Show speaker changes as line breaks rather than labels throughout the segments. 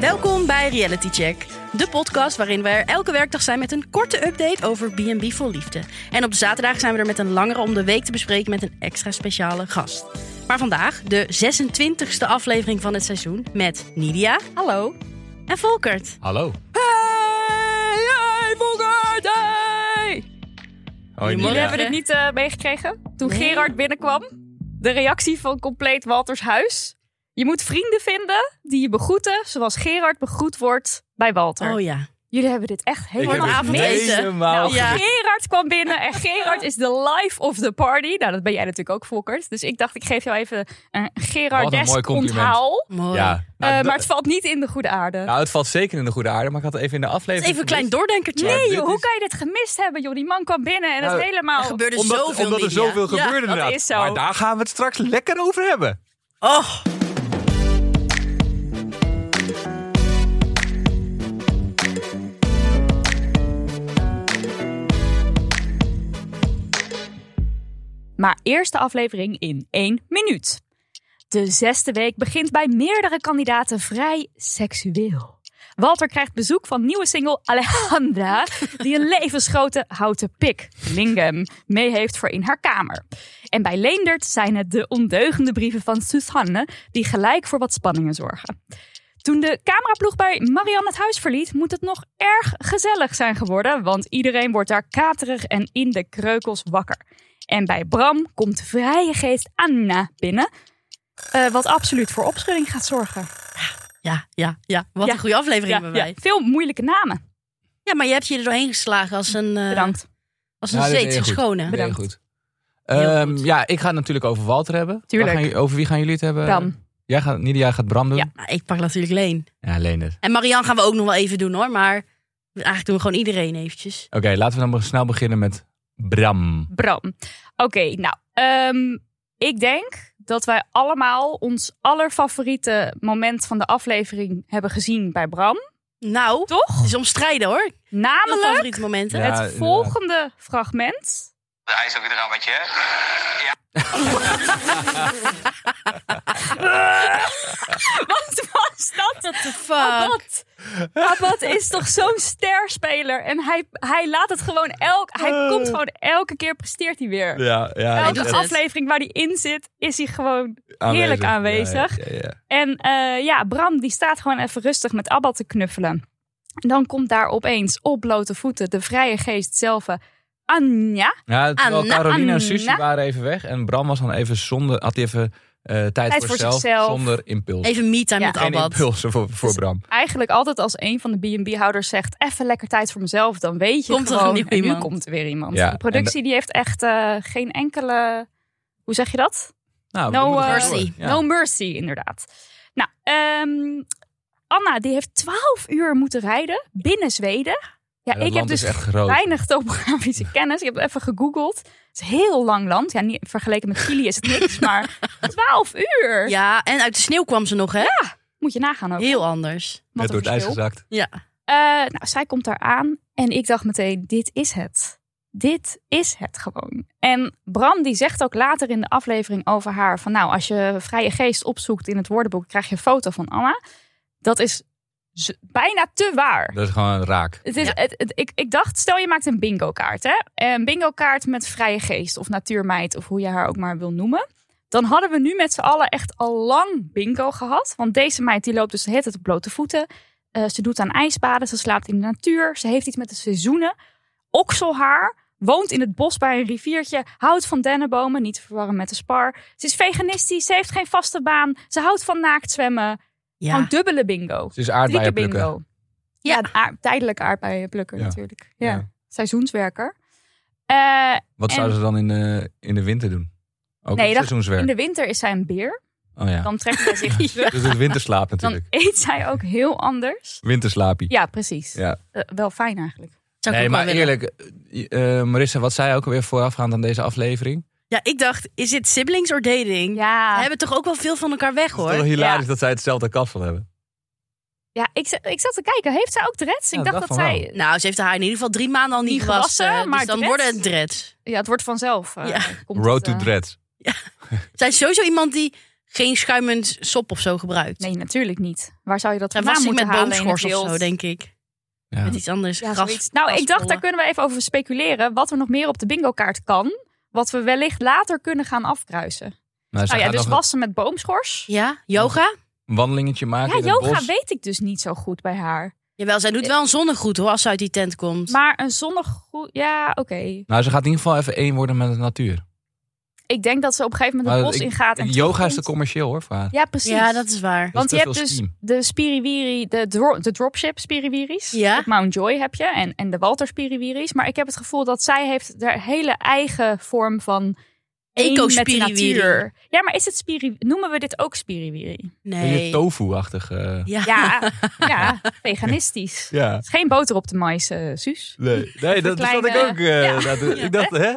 Welkom bij Reality Check, de podcast waarin we er elke werkdag zijn met een korte update over B&B vol liefde. En op de zaterdag zijn we er met een langere om de week te bespreken met een extra speciale gast. Maar vandaag de 26e aflevering van het seizoen met Nidia
Hallo.
en Volkert.
Hallo.
Hey, hey Volkert,
Hoi,
Goedemorgen.
Jullie
Ja.
hebben dit niet eh, meegekregen. Toen
Nee.
Gerard binnenkwam, de reactie van compleet Walters Huis. Je moet vrienden vinden die je begroeten zoals Gerard begroet wordt bij Walter.
Oh ja.
Jullie hebben dit echt
Ik heb
helemaal
het
vanavond eten.
helemaal
Nou,
gezien.
ja.
Gerard kwam binnen en Gerard is de life of the party. Nou, dat ben jij natuurlijk ook, Volkert. Dus ik dacht, ik geef jou even een
mooi
Gerard-desk
compliment.
onthaal.
Mooi.
Ja, nou,
Eh,
dat-
maar het valt niet in de goede aarde.
nou, het valt zeker in de goede aarde, maar ik had het even in de
Het
aflevering.
is even een klein
gemist.
doordenkertje.
Maar
nee
dit
joh, hoe
is-
kan je dit gemist hebben joh? Die man kwam binnen en
Nou,
het helemaal...
Er gebeurde
omdat,
zoveel
omdat er
Nidia.
zoveel
Ja.
gebeurde
dat
inderdaad.
is zo.
Maar daar gaan we het straks lekker over hebben.
Oh.
maar eerste aflevering in één minuut. De zesde week begint bij meerdere kandidaten vrij seksueel. Walter krijgt bezoek van nieuwe single Alejandra, die een levensgrote houten pik, lingam, mee heeft voor in haar kamer. En bij Leendert zijn het de ondeugende brieven van Susanne, die gelijk voor wat spanningen zorgen. Toen de cameraploeg bij Marianne het huis verliet, moet het nog erg gezellig zijn geworden, want iedereen wordt daar katerig en in de kreukels wakker. En bij Bram komt de vrije geest Anna binnen, eh, wat absoluut voor opschudding gaat zorgen.
Ja, ja, ja. Wat
Ja.
een goede aflevering hebben wij. Ja.
Veel moeilijke namen.
maar je hebt je er doorheen geslagen als een, eh,
Bedankt.
als een
Ja, dit is
zeet
heel
zich
goed.
schone.
Bedankt.
Heel goed.
Heel goed.
Ehm, ja, ik ga het natuurlijk over Walter hebben.
Tuurlijk.
Waar gaan jullie- over wie gaan jullie het hebben?
Bram.
Jij gaat, Nidia gaat Bram doen?
Ja.
Nou, ik pak natuurlijk Leen.
Ja, Leendert.
En Marianne gaan we ook nog wel even doen hoor. Maar eigenlijk doen we gewoon iedereen eventjes.
Oké, laten we dan maar snel beginnen met Bram.
Bram. Oké, nou. ehm, ik denk dat wij allemaal ons allerfavoriete moment van de aflevering hebben gezien bij Bram.
Nou,
Toch?
het is omstrijden hoor. Mijn
Namelijk
favoriete momenten.
Oh. Ja,
het
inderdaad.
volgende fragment.
Hij is ook weer eraan met je, hè?
Wat was dat?
What the fuck?
Oh, Abad. Abad is toch zo'n sterspeler. En hij, hij laat het gewoon elk... Hij komt gewoon elke keer presteert hij weer.
Ja, ja.
hij
Elke
doet het.
aflevering waar hij in zit, is hij gewoon heerlijk aanwezig.
Ja, ja, ja.
En eh, ja, Bram die staat gewoon even rustig met Abba te knuffelen. En dan komt daar opeens op blote voeten de vrije geest zelf. eh, Anja,
Ja, terwijl
Anna,
Carolina en
Anna.
Susie waren even weg. En Bram was dan even zonder, had hij even eh, tijd, voor,
voor
zelf,
zichzelf.
Zonder impuls.
Even meet time
Ja.
met
Geen
Abad.
impulsen voor,
Dus
voor Bram.
eigenlijk altijd als een van de B&B-houders zegt... even lekker tijd voor mezelf, dan weet je
Komt er
gewoon...
een nieuw
en nu
iemand.
komt er weer iemand.
Ja,
de productie die heeft echt eh, geen enkele... Hoe zeg je dat?
Nou,
No,
we moeten
eh,
gewoon door.
mercy.
Ja.
No mercy, inderdaad. Nou, ehm, Anna die heeft 12 uur moeten rijden binnen Zweden. Ja,
Ja, dat
ik heb
land
dus
is echt groot.
weinig topografische kennis. Ik heb het even gegoogeld. Het is een heel lang land. Ja, niet, vergeleken met Chili is het niks, maar 12 uur.
Ja, en uit de sneeuw kwam ze nog hè?
Moet je nagaan ook.
Heel anders.
Wat
Net
een
door het ijs
verschil.
gezakt.
Ja.
Eh, nou, zij komt daar aan en ik dacht meteen, dit is het. Dit is het gewoon. En Bram die zegt ook later in de aflevering over haar van nou, als je vrije geest opzoekt in het woordenboek, krijg je een foto van Anna. Dat is z- bijna te waar.
Dat is gewoon raak.
Het is, het, het- ik, ik dacht, stel je maakt een bingo kaart. Hè? Eh, Een bingo kaart met vrije geest of natuurmeid of hoe je haar ook maar wil noemen. Dan hadden we nu met z'n allen echt al lang bingo gehad. Want deze meid die loopt dus de hele tijd op blote voeten. Eh, ze doet aan ijsbaden, ze slaapt in de natuur. Ze heeft iets met de seizoenen. Okselhaar, woont in het bos bij een riviertje. Houdt van dennenbomen, niet te verwarren met de spar. Ze is veganistisch, ze heeft geen vaste baan. Ze houdt van naakt zwemmen. Gewoon
Ja.
dubbele bingo.
Het is
Drie keer
aardbeien plukken.
bingo. Ja, een aard- tijdelijk aardbeien plukken
Ja.
natuurlijk. Ja.
Ja.
Seizoenswerker. Eh,
Wat
En-
zouden ze dan in, eh, in de winter doen? Ook
Nee,
het
dat-
seizoenswerk.
in de winter is zij een beer.
Oh ja.
Dan trekt zij zich terug.
Dus het winterslaap
Dan
natuurlijk.
eet zij ook heel anders.
Winterslaapie.
Ja, precies.
Ja.
Eh, wel fijn eigenlijk.
Zou ik
nee,
ook wel
maar
willen.
eerlijk, eh, eh, Marissa, wat zei ook alweer voorafgaand aan deze aflevering?
Ja, ik dacht, is dit siblings or dating?
Ja.
We hebben toch ook wel veel van elkaar weg
Het is
hoor.
toch hilarisch
Ja.
dat zij hetzelfde kapsel hebben.
Ja, ik, za- ik zat te kijken. Heeft zij ook dreads? Ik
Ja,
dacht
dat
dat
van
zij...
Nou, ze heeft haar in ieder geval drie maanden al niet,
Niet
gewassen.
gewassen, maar
dus dan
dreads?
worden het dreads.
Ja, het wordt vanzelf. eh,
Ja.
komt
Road
het,
to
eh,
Dread.
Zij is sowieso iemand die geen schuimend sop of zo gebruikt.
Nee, natuurlijk niet. Waar zou je dat
Zij
vandaan
was niet
moeten
met
halen in
boomschors
het
of
wild?
zo, denk ik.
Ja.
Met iets anders.
Ja,
gras,
zoiets. Nou, ik dacht, daar
graspollen.
kunnen we even over speculeren. Wat er nog meer op de bingo-kaart kan. Wat we wellicht later kunnen gaan afkruisen.
Nou, ze
Nou ja,
gaat
dus
nog
wassen met boomschors.
Ja, yoga?
een wandelingetje maken
Ja,
in het
yoga
bos.
weet ik dus niet zo goed bij haar.
Jawel, zij doet wel een zonnegroet hoor, als ze uit die tent komt.
Maar een zonnig... Ja, oké.
Nou, ze gaat in ieder geval even één worden met de natuur.
Ik denk dat ze op een gegeven moment het
Maar
bos
ik-
ingaat. En
Yoga is te
terugkomt.
commercieel hoor, voor haar.
Ja, precies.
ja, dat is waar.
Want
te
je hebt
veel
dus
steam.
de spiriwiri, de, dro- de dropship spiriwiris.
Ja.
Op Mount Joy heb je en, en de Walter spiriwiris. Maar ik heb het gevoel dat zij heeft haar hele eigen vorm van één met de
Eco-spiriwiri.
natuur. Ja, maar is het spiri? Noemen we dit ook spiriwiri?
Een beetje
Nee.
tofu-achtig. eh.
Ja.
Ja, ja, veganistisch.
Ja.
Het is geen boter op de mais, eh, Suus.
Nee, nee dat, dat zat ik
kleine-
ook. eh,
Ja.
dat- Ik dacht, hè?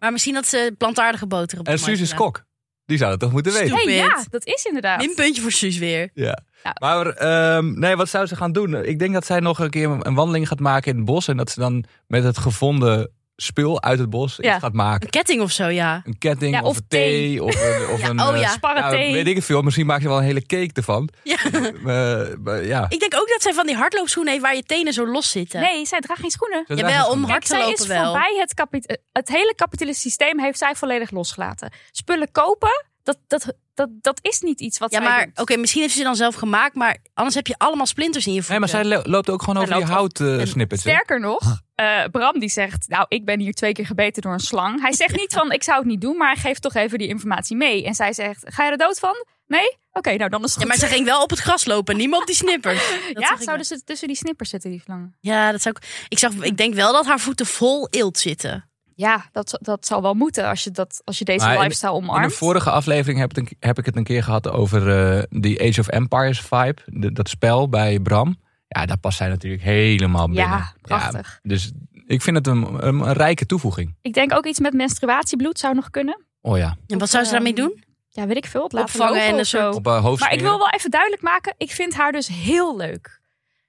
Maar misschien dat ze plantaardige boter op de
En
markt
Suus is
gedaan.
kok. Die zou dat toch moeten weten?
Stupid.
Hey, ja, dat is inderdaad.
Een puntje voor Suus weer.
Ja.
Ja.
Maar ehm, nee, wat zou ze gaan doen? Ik denk dat zij nog een keer een wandeling gaat maken in het bos. En dat ze dan met het gevonden spul uit het bos
Ja.
iets gaat maken.
Een ketting of zo, ja.
Een ketting
Ja,
of,
of
een thee. Of een, of een
oh
eh,
ja.
Sparren
nou,
thee.
weet ik veel. Misschien maakt ze wel een hele cake ervan.
ja.
Eh, maar ja.
Ik denk ook dat zij van die hardloopschoenen heeft waar je tenen zo los zitten.
Nee, zij draagt geen schoenen.
Ze draagt
Jawel,
een
om
schoen.
hard
Kijk,
te
zij is
lopen wel.
voorbij het, kapit- het hele kapitalistische systeem heeft zij volledig losgelaten. Spullen kopen, dat, dat, dat, dat is niet iets wat
Ja,
zij
maar
doet.
oké, misschien heeft ze ze dan zelf gemaakt, maar anders heb je allemaal splinters in je
Nee,
voeten.
maar zij lo- loopt ook gewoon
Zij
over die
loopt
hout eh,
En
snippets. hè?
Sterker nog, eh, Bram die zegt, nou ik ben hier twee keer gebeten door een slang. Hij zegt niet van, ik zou het niet doen, maar hij geeft toch even die informatie mee. En zij zegt, ga je er dood van? Nee? Oké, nou dan is het
Ja,
goed.
maar ze ging wel op het gras lopen, niet meer op die snippers. Dat
Ja, dus-
zag ik wel.
zouden ze tussen die snippers zitten, die slangen?
Ja, dat zou ik. Ik, zag, ik denk wel dat haar voeten vol eelt zitten.
Ja, dat, dat zou wel moeten als je, dat, als je deze
Maar in-
lifestyle
In
omarmt.
de vorige aflevering heb, het een- heb ik het een keer gehad over eh, die Age of Empires vibe. De- dat spel bij Bram. Ja, daar past zij natuurlijk helemaal binnen.
ja, prachtig.
dus ik vind het een, een, een rijke toevoeging.
Ik denk ook iets met menstruatiebloed zou nog kunnen.
Oh ja,
En wat
Of,
zou ze daarmee
ehm,
doen?
ja, weet ik veel, het laten
Opvangen
lopen
en
of
een
zo.
soort-
op eh, haar hoofd
Maar ik
smeren.
wil wel even duidelijk maken, ik vind haar dus heel leuk.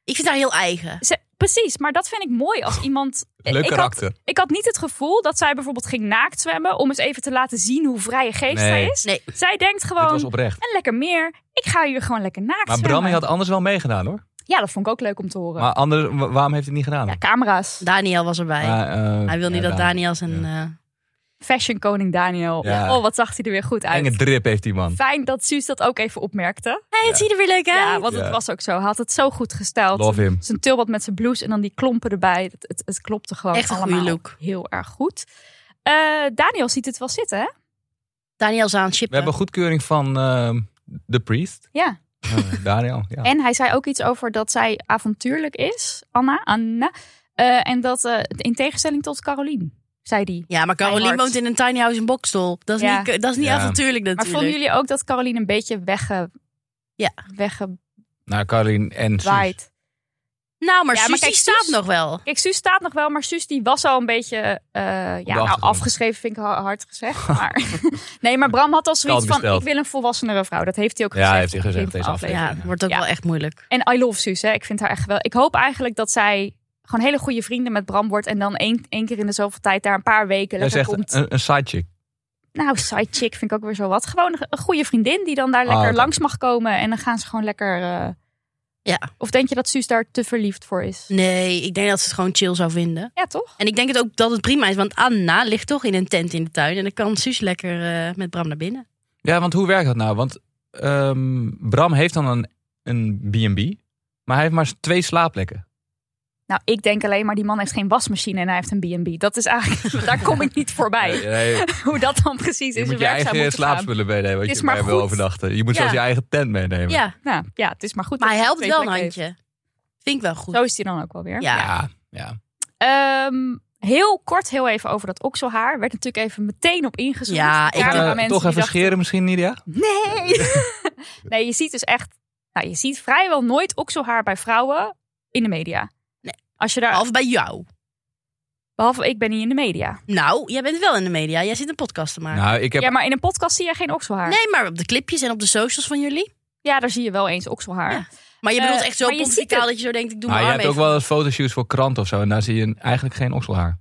Ik vind haar heel eigen.
Ze, precies, maar dat vind ik mooi als iemand...
Leuk
ik
karakter.
Had, ik had niet het gevoel dat zij bijvoorbeeld ging naakt zwemmen... om eens even te laten zien hoe vrije geest
Nee.
zij is.
Nee.
Zij denkt
Dit was
gewoon,
oprecht.
en lekker meer, ik ga hier gewoon lekker naakt
Maar
zwemmen.
Bram had anders wel meegedaan hoor.
Ja, dat vond ik ook leuk om te horen.
Maar anders, wa- waarom heeft hij het niet gedaan?
ja, camera's.
Daniel was erbij.
Maar, eh,
hij wil niet
ja,
dat
daar-
Daniel zijn. eh,
Fashion koning Daniel.
Ja.
Oh, wat zag hij er weer goed uit.
Enge drip heeft die man.
Fijn dat Suus dat ook even opmerkte.
hey, het ziet er weer leuk uit.
Ja, want het
Ja.
was ook zo. Hij had het zo goed gesteld.
Love him.
Zijn tulband met zijn blouse en dan die klompen erbij. Het, het, het klopte gewoon
Echt een goede
allemaal
look.
heel erg goed. Eh, Daniel ziet het wel zitten, hè?
Daniel zou aan het
We
chippen.
hebben goedkeuring van eh, de priest.
Ja.
Eh, Daniel. Ja.
En hij zei ook iets over dat zij avontuurlijk is, Anna. Anna Eh, en dat eh, in tegenstelling tot Caroline, zei die.
Ja, maar Caroline
Fijn hart.
woont in een tiny house in Bokstel. Dat is
Ja.
niet, dat is niet
Ja.
avontuurlijk
Maar
natuurlijk.
vonden jullie ook dat Caroline een beetje wegge...
Ja.
weggewaaid?
Nou, Caroline en Suus.
Nou, maar
Ja, maar
Suus die
kijk,
staat
Suus-
nog wel.
Kijk, Suus staat nog wel, maar Suus die was al een beetje eh, ja, nou,
achtergrond.
afgeschreven, vind ik ha- hard gezegd. Maar, nee, maar Bram had al zoiets
Koud
van,
besteld.
ik wil een volwassenere vrouw. Dat heeft hij ook
Ja,
gezegd.
heeft hij
op het
gezegd,
begin van
deze
de
aflevering.
Ja, het wordt ook
Ja.
wel echt moeilijk.
En I love Suus, hè. ik vind haar echt wel. Ik hoop eigenlijk dat zij gewoon hele goede vrienden met Bram wordt. En dan één, één keer in de zoveel tijd daar een paar weken
Hij
lekker
zegt eh?
komt.
een, een side chick.
Nou, side chick vind ik ook weer zo wat. Gewoon een, een goede vriendin die dan daar lekker
Ah, oké.
langs mag komen. En dan gaan ze gewoon lekker... eh,
Ja.
Of denk je dat Suus daar te verliefd voor is?
Nee, ik denk dat ze het gewoon chill zou vinden.
Ja, toch?
En ik denk het ook dat het prima is, want Anna ligt toch in een tent in de tuin. En dan kan Suus lekker eh, met Bram naar binnen.
Ja, want hoe werkt dat nou? Want ehm, Bram heeft dan een, een B&B, maar hij heeft maar twee slaapplekken.
Nou, ik denk alleen maar die man heeft geen wasmachine en hij heeft een B&B. Dat is eigenlijk, daar kom ik niet voorbij.
Nee,
Hoe dat dan precies
je
is.
moet je eigen slaapspullen meenemen, wat
Het is
je
maar
bij wil
goed.
overnachten. Je moet
Ja.
zelfs je eigen tent meenemen.
Ja,
Nou, ja, het is maar goed.
maar
dat
hij helpt
twee
wel een
plekken heeft.
handje. Vind ik wel goed.
Zo is hij dan ook wel weer.
Ja.
ja. ja.
Ehm, heel kort heel even over dat okselhaar. Werd natuurlijk even meteen op ingezoomd.
Ja, ik-
Daar
Gaan we
waren mensen
eh,
die
toch even scheren misschien, Nidia?
dachten, Nee! nee, je ziet dus echt... Nou, je ziet vrijwel nooit okselhaar bij vrouwen in de media.
Nee.
Als je daar...
Behalve bij jou.
Behalve ik ben niet in de media.
Nou, jij bent wel in de media. Jij zit een podcast te maken.
Nou, ik heb...
Ja, maar in een podcast zie je geen okselhaar.
Nee, maar op de clipjes en op de socials van jullie.
Ja, daar zie je wel eens okselhaar.
Ja. Maar je bedoelt
Eh,
echt zo
maar je ziet
pontificaal
het.
dat je zo denkt, ik doe
Maar
mijn
nou, je
arm
Ah, hebt ook
even.
wel eens fotoshoots voor kranten of zo. En daar zie je eigenlijk geen okselhaar.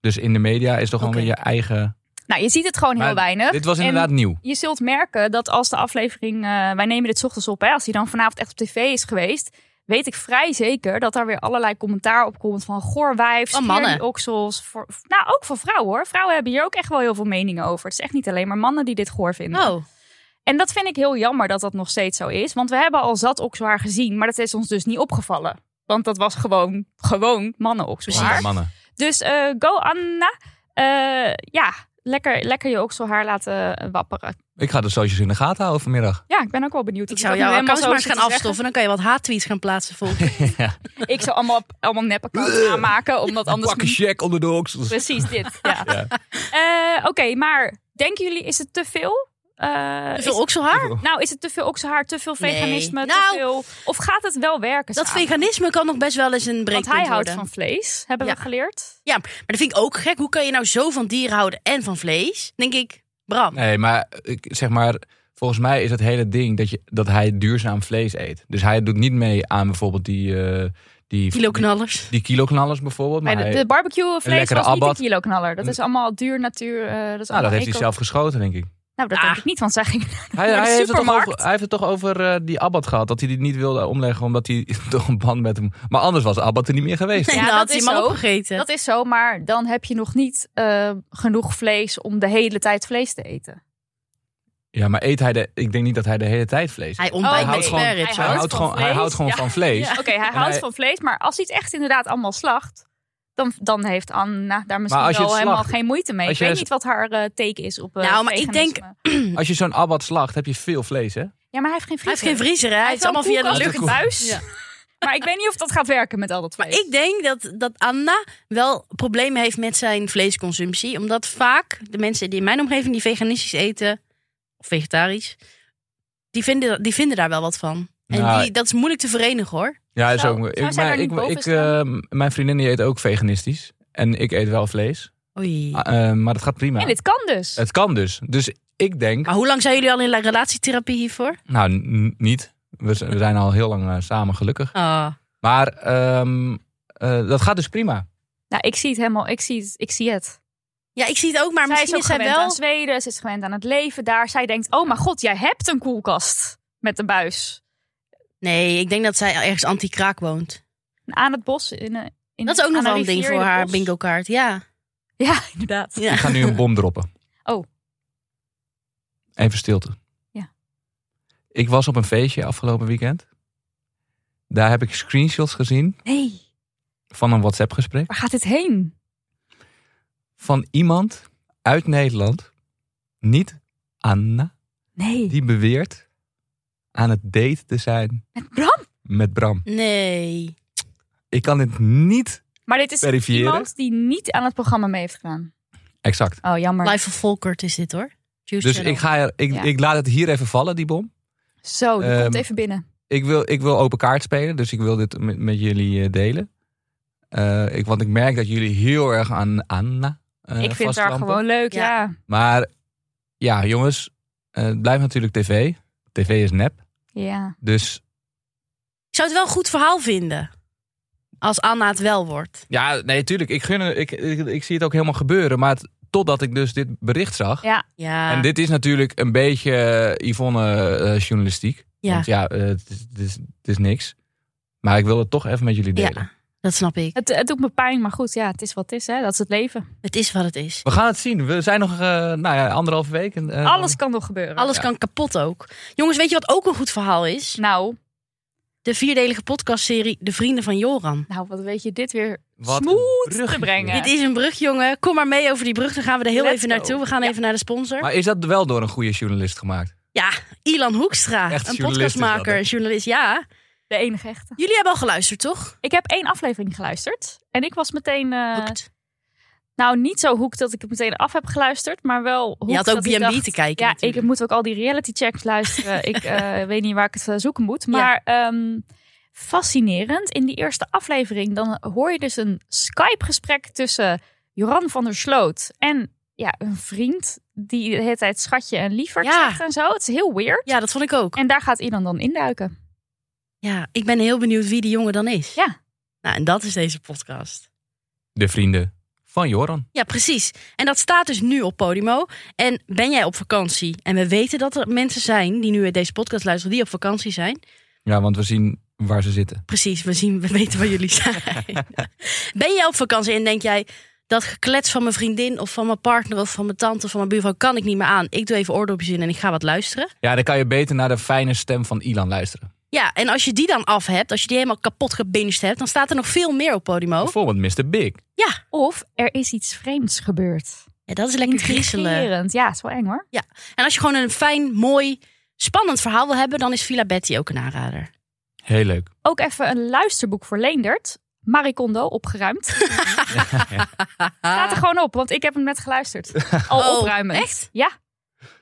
Dus in de media is toch gewoon
Oké.
weer je eigen...
Nou, je ziet het gewoon heel
Maar
weinig.
Dit was
En-
inderdaad nieuw.
je zult merken dat als de aflevering, eh, wij nemen dit 's ochtends op, hè, als die dan vanavond echt op tv is geweest, weet ik vrij zeker dat daar weer allerlei commentaar op komt van goor wijf,
Oh, mannen.
die oksels. Voor, nou, ook van vrouwen hoor. Vrouwen hebben hier ook echt wel heel veel meningen over. Het is echt niet alleen maar mannen die dit goor vinden.
Oh,
En dat vind ik heel jammer dat dat nog steeds zo is, want we hebben al zat okselhaar gezien, maar dat is ons dus niet opgevallen. Want dat was gewoon, gewoon mannen
Mannen,
okselhaar.
Mannen.
Dus eh, go Anna. Eh, ja, lekker, lekker je okselhaar laten wapperen.
Ik ga de socials in de gaten houden vanmiddag.
Ja, ik ben ook wel benieuwd.
ik
Dat
zou
dat nu
jouw
helemaal
account
zo
maar eens
zit
gaan
te zeggen.
afstoffen. Dan kan je wat haattweets gaan plaatsen volgens.
Ik zou allemaal, allemaal nep-accounts aanmaken, omdat anders...
Pak een check onder de oksels.
Precies dit, ja.
Ja.
Eh, Oké, maar denken jullie, is het te veel? Eh,
Te
is-
veel okselhaar?
nou, is het te veel okselhaar, te veel
Nee.
veganisme,
Nou.
te veel... Of gaat het wel werken
Dat
samen?
veganisme kan nog best wel eens een
Want
breekpunt
hij
worden.
houdt van vlees, hebben
Ja.
we geleerd.
Ja, maar dat vind ik ook gek. Hoe kan je nou zo van dieren houden en van vlees? Denk ik, Bram.
Nee, maar ik zeg maar, volgens mij is het hele ding dat, je, dat hij duurzaam vlees eet. Dus hij doet niet mee aan bijvoorbeeld die, eh die,
Kiloknallers.
die kiloknallers bijvoorbeeld. Maar
Maar de,
hij-
de barbecue vlees
lekkere
was niet
abbat.
een kiloknaller. Dat
Een-
is allemaal duur natuur. eh, dat is
nou,
allemaal
dat heeft
eco-
hij zelf geschoten, denk ik.
Nou, dat
Ah.
denk ik niet, want zij gingen
Hij,
de
hij, heeft, het toch
supermarkt.
over, hij heeft het toch over eh, die Abbat gehad. Dat hij die niet wilde omleggen omdat hij toch een band met hem... Maar anders was Abbat er niet meer geweest.
Ja,
Ja,
dat
dat
had hij
is
hem al
zo.
opgegeten.
Dat is zo, maar dan heb je nog niet eh, genoeg vlees om de hele tijd vlees te eten.
Ja, maar eet hij de... Ik denk niet dat hij de hele tijd vlees eet.
Hij ontbijt
Oh,
met
nee.
spare
Hij
ribs.
Hij
hoor.
houdt
houdt
van
gewoon, hij
vlees.
houdt gewoon
Ja.
van vlees.
Oké, hij
En
houdt
hij-
van vlees, maar als hij het echt inderdaad allemaal slacht, dan, dan heeft Anna daar misschien
Maar als je
wel
het
helemaal
slacht-
geen moeite mee.
als
Ik
je
weet
het-
niet wat haar eh teken is op. eh,
Nou, maar ik denk-
veganisme.
Als je zo'n Abbat slacht, heb je veel vlees, hè?
Ja, maar hij heeft geen
Hij heeft
vriezer.
geen vriezer, hè? hij heeft allemaal via de
koelkast.
lucht.
lucht thuis. Maar ik weet niet of dat gaat werken met al dat
Maar
vlees.
ik denk dat, dat Anna wel problemen heeft met zijn vleesconsumptie. Omdat vaak de mensen die in mijn omgeving die veganistisch eten, of vegetarisch, die vinden, die vinden daar wel wat van. En
Nou,
die, dat is moeilijk te verenigen hoor.
Ja, is
Zou-
ook...
zou zij
Ik, maar
daar niet
ik,
boven
ik,
staan?
eh, mijn vriendin die eet ook veganistisch. En ik eet wel vlees.
Oei.
Ah, eh, maar dat gaat prima.
En dit Ah. kan dus.
Het kan dus. Dus ik denk...
Maar hoe lang zijn jullie al in la- relatietherapie hiervoor?
Nou, n- niet. We, z- we zijn al heel lang eh, samen, gelukkig.
Ah.
Maar ehm, eh, dat gaat dus prima.
Nou, ik zie het helemaal. Ik zie het. Ik zie het.
Ja, ik zie het ook, maar
zij is
misschien
ook
is zij
gewend aan
wel.
Zweden. Ze is gewend aan het leven daar. Zij denkt: oh mijn god, jij hebt een koelkast met een buis.
Nee, ik denk dat zij ergens anti-kraak woont.
Aan het bos. In een, in
Dat is ook nog
aan
wel een
rivier
ding
in
voor
het
haar
bos.
bingo kaart. Ja.
Ja, inderdaad.
ja.
Ik ga nu een bom droppen.
Oh.
Even stilte.
Ja.
Ik was op een feestje afgelopen weekend. Daar heb ik screenshots gezien
Nee,
van een WhatsApp-gesprek.
waar gaat dit heen?
Van iemand uit Nederland, niet Anna,
Nee.
die beweert aan het date te zijn
Met Bram?
met Bram.
Nee.
Ik kan dit niet
Maar dit is
verifiëren.
iemand die niet aan het programma mee heeft gedaan.
Exact.
Oh, jammer.
Life of Volkert is dit hoor. Juice
Dus
Channel.
ik, ga er, ik,
Ja.
ik laat het hier even vallen, die bom.
Zo, die
Ehm,
komt even binnen.
ik wil, ik wil open kaart spelen, dus ik wil dit met, met jullie eh, delen. Eh, ik, want ik merk dat jullie heel erg aan Anna eh,
ik vind haar
vastlampen.
gewoon leuk,
Ja.
ja. ja.
Maar ja, jongens, eh, het blijft natuurlijk tv. TV is nep. Dus
Ik zou het wel een goed verhaal vinden. Als Anna het wel wordt.
ja, nee, tuurlijk. Ik, gun, ik, ik, ik zie het ook helemaal gebeuren. Maar het- totdat ik dus dit bericht zag.
Ja.
Ja.
En dit is natuurlijk een beetje eh, Yvonne eh, journalistiek.
Ja.
Want ja, eh, het, is, het, is, het is niks. Maar ik wil het toch even met jullie delen.
ja, dat snap ik.
Het, het doet me pijn, maar goed, ja, het is wat het is, hè. Dat is het leven.
Het is wat het is.
We gaan het zien. We zijn nog eh nou ja, anderhalve week. En, eh,
Alles kan nog gebeuren.
Alles
Ja.
kan kapot ook. Jongens, weet je wat ook een goed verhaal is?
Nou,
De vierdelige podcastserie De Vrienden van Joran.
nou, wat weet je dit weer
Wat een
smooth
bruggetje.
te brengen.
Dit is een brug, jongen. Kom maar mee over die brug. Dan gaan we er heel
Let's
even
go.
naartoe. We gaan
Ja.
even naar de sponsor.
Maar is dat wel door een goede journalist gemaakt?
Ja, Ilan Hoekstra.
Echt
een
journalist is dat,
podcastmaker,
hè?
een journalist. Ja,
De enige echte.
jullie hebben al geluisterd, toch?
Ik heb één aflevering geluisterd. En ik was meteen... eh,
Hoekt.
nou, niet zo hoek dat ik het meteen af heb geluisterd. Maar wel hoek
Je had ook
dat ik dacht,
B&B te kijken.
Ja,
natuurlijk.
ik moet ook al die reality checks luisteren. ik eh, weet niet waar ik het eh, zoeken moet. Maar ehm, fascinerend. In die eerste aflevering dan hoor je dus een Skype-gesprek tussen Joran van der Sloot en ja, een vriend. Die de hele tijd schatje en lieverd
Ja.
zegt en zo. Het is heel weird.
ja, dat vond ik ook.
En daar gaat Ilan dan induiken.
Ja, ik ben heel benieuwd wie die jongen dan is.
Ja.
Nou, en dat is deze podcast.
De vrienden van Joran.
Ja, precies. En dat staat dus nu op Podimo. En ben jij op vakantie? En we weten dat er mensen zijn die nu deze podcast luisteren, die op vakantie zijn.
Ja, want we zien waar ze zitten.
Precies, we, zien, we weten waar jullie zijn. ben jij op vakantie en denk jij... dat geklets van mijn vriendin of van mijn partner of van mijn tante of van mijn buurvrouw... kan ik niet meer aan. Ik doe even oordopjes in en ik ga wat luisteren.
Ja, dan kan je beter naar de fijne stem van Ilan
Oh.
luisteren.
Ja, en als je die dan af hebt, als je die helemaal kapot gebinged hebt... dan staat er nog veel meer op Podimo.
Bijvoorbeeld Mr. Big.
Ja,
Of er is iets vreemds gebeurd.
ja dat is lekker griezelen.
Intrigerend. Ja, is wel eng hoor.
En als je gewoon een fijn, mooi, spannend verhaal wil hebben... dan is Villa Betty ook een aanrader.
Heel leuk.
Ook even een luisterboek voor Leendert. Marie Kondo, opgeruimd. Staat er gewoon op, want ik heb hem net geluisterd. Al
Ah. Oh,
opruimend.
echt?
Ja.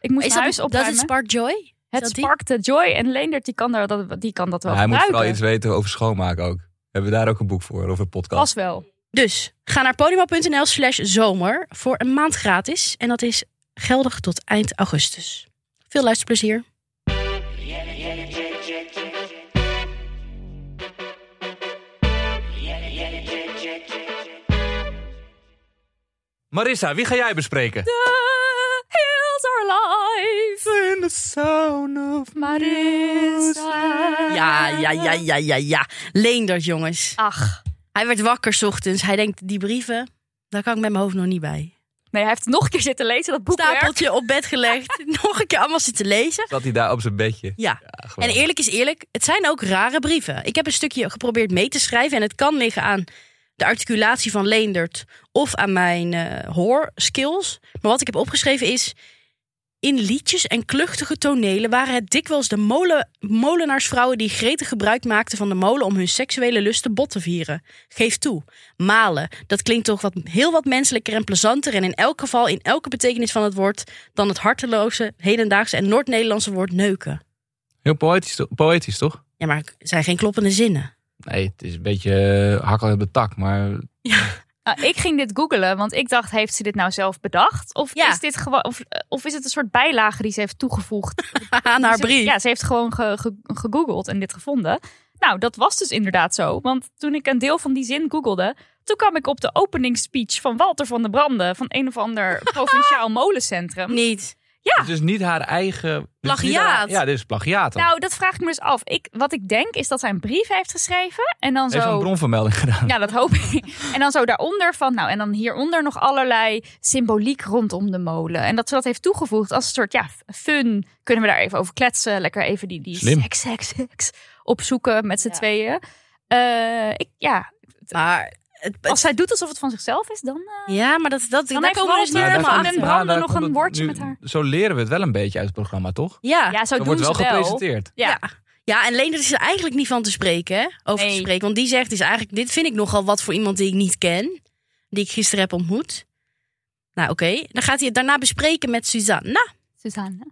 Ik moest
Is
mijn
dat,
huis
dat
opruimen.
het Spark Joy?
het
dat die?
sparkte joy en Leendert die kan, daar, dat, die kan dat wel
hij moet
gebruiken.
vooral iets weten over schoonmaken ook. Hebben we daar ook een boek voor, over een podcast?
Pas wel.
Dus ga naar podimo.nl slash zomer voor een maand gratis. En dat is geldig tot eind augustus. Veel luisterplezier.
Marissa, wie ga jij bespreken?
The hills are life.
In the sound of...
Marissa.
Ja, ja, ja, ja, ja, ja. Leendert, jongens.
Ach.
Hij werd wakker 's ochtends. Hij denkt, die brieven, daar kan ik met mijn hoofd nog niet bij.
Nee, hij heeft nog een keer zitten lezen, dat boek weer.
Stapeltje op bed gelegd. nog een keer allemaal zitten lezen.
Zat hij daar op zijn bedje?
Ja.
Ja,
En
gewoon.
eerlijk is eerlijk, het zijn ook rare brieven. Ik heb een stukje geprobeerd mee te schrijven. En het kan liggen aan de articulatie van Leendert of aan mijn eh, hoorskills. Maar wat ik heb opgeschreven is... In liedjes en kluchtige tonelen waren het dikwijls de molen, molenaarsvrouwen... die gretig gebruik maakten van de molen om hun seksuele lusten bot te vieren. Geef toe, malen, dat klinkt toch wat, heel wat menselijker en plezanter... en in elk geval in elke betekenis van het woord... dan het harteloze, hedendaagse en Noord-Nederlandse woord neuken.
Heel poëtisch, to- poëtisch, toch?
Ja, maar het zijn geen kloppende zinnen.
Nee, het is een beetje eh, hakkel op de tak, maar
Nou, ik ging dit googelen, want ik dacht, heeft ze dit nou zelf bedacht? Of,
Ja.
is, dit gewoon, of, eh, of is het een soort bijlage die ze heeft toegevoegd?
Aan haar
Ze-
brief.
Ja, ze heeft gewoon ge- ge- gegoogeld en dit gevonden. Nou, dat was dus inderdaad zo. Want toen ik een deel van die zin googelde, toen kwam ik op de openingsspeech van Walter van der Branden van een of ander provinciaal molencentrum.
Niet.
Ja.
het is niet haar eigen... dit is niet
Plagiaat.
haar- ja, dit is plagiaat. dan.
Nou, dat vraag ik me dus af. Ik, wat ik denk is dat hij een brief heeft geschreven en dan
Heeft ze een
zo
bronvermelding gedaan?
Ja, dat hoop ik. En dan zo daaronder van, nou, en dan hieronder nog allerlei symboliek rondom de molen. En dat ze dat heeft toegevoegd als een soort, ja, fun. Kunnen we daar even over kletsen? Lekker even die, die
Slim.
seks, seks, seks opzoeken met z'n
Ja.
tweeën. Eh, ik, ja,
Maar. Het,
als zij doet alsof het van zichzelf is, dan... eh,
ja, maar dat, dat,
Dan
daar
heeft
komen we dus niet
Walter
helemaal
van
daar
den
achter.
branden
komt- daar
nog
komt
een
het
woordje
nu-
met haar.
Zo leren we het wel een beetje uit het programma, toch?
Ja. ja.
ja, zo
er
doen
wordt wel
ze wel.
gepresenteerd.
Ja.
Ja, en Leendert is er eigenlijk niet van te spreken, hè? Over te
Nee.
spreken. Want die zegt is eigenlijk, dit vind ik nogal wat voor iemand die ik niet ken. Die ik gisteren heb ontmoet. Nou, oké. Dan gaat hij het daarna bespreken met Suzanne
Suzanne.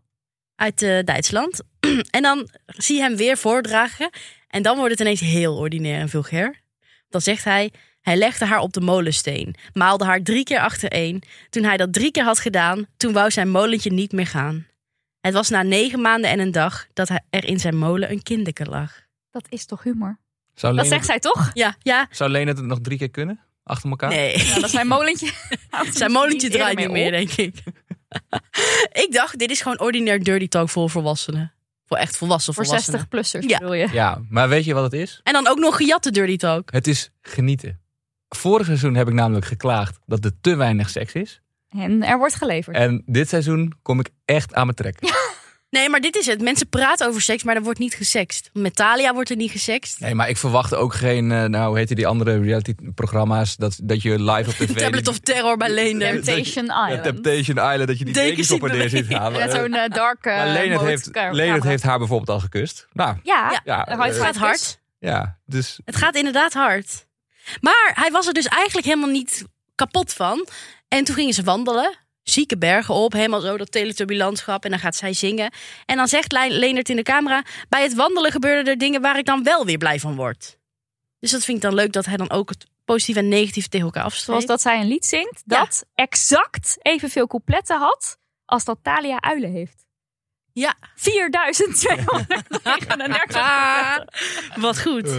uit eh, Duitsland. en dan zie je hem weer voordragen. En dan wordt het ineens heel ordinair en vulgair. Dan zegt hij, hij legde haar op de molensteen. Maalde haar drie keer achtereen. Toen hij dat drie keer had gedaan, toen wou zijn molentje niet meer gaan. Het was na negen maanden en een dag dat hij- er in zijn molen een kinderke lag.
Dat is toch humor?
Zou
Dat
Leen,
zegt zij toch?
Ja, ja.
zou Leen het nog drie keer kunnen? Achter elkaar?
Nee.
Nou, dat is mijn molentje.
Zijn molentje
Niet eerder
draait niet meer,
op.
denk ik. ik dacht, dit is gewoon ordinair dirty talk voor volwassenen. Voor echt volwassen
Voor
volwassenen.
60-plussers
Ja.
bedoel je?
Ja, maar weet je wat het is?
En dan ook nog gejatte dirty talk.
Het is genieten. Vorig seizoen heb ik namelijk geklaagd dat er te weinig seks is.
En er wordt geleverd.
En dit seizoen kom ik echt aan mijn trek.
Nee, maar dit is het. Mensen praten over seks, maar er wordt niet gesext. Met Thalia wordt er niet gesext.
Nee, maar ik verwacht ook geen, eh, nou hoe heet die andere reality-programma's, dat, dat je live op tv...
Tablet of Terror bij Leender.
Temptation
Ja,
Island.
Temptation Island, dat je die
Dekens
dekens op en
ziet
neer ziet
bewegen.
halen.
Met zo'n eh, dark eh,
Maar Leen het
mode
heeft,
ca-
Leen het
camera.
heeft haar bijvoorbeeld al gekust. Nou,
Ja,
Ja,
ja.
dan gaat
Het
eh,
gaat hard.
ja, dus
Het gaat inderdaad hard. Maar hij was er dus eigenlijk helemaal niet kapot van. En toen gingen ze wandelen. Zieke bergen op, helemaal zo dat teleturbulantschap. En dan gaat zij zingen. En dan zegt Le- Leendert in de camera... bij het wandelen gebeurden er dingen waar ik dan wel weer blij van word. Dus dat vind ik dan leuk dat hij dan ook het positieve en negatieve tegen elkaar afstreekt.
zoals dat zij een lied zingt, dat exact evenveel coupletten had als dat Talia Uilen heeft.
Ja.
4239.
Ah, wat
Eh.
goed.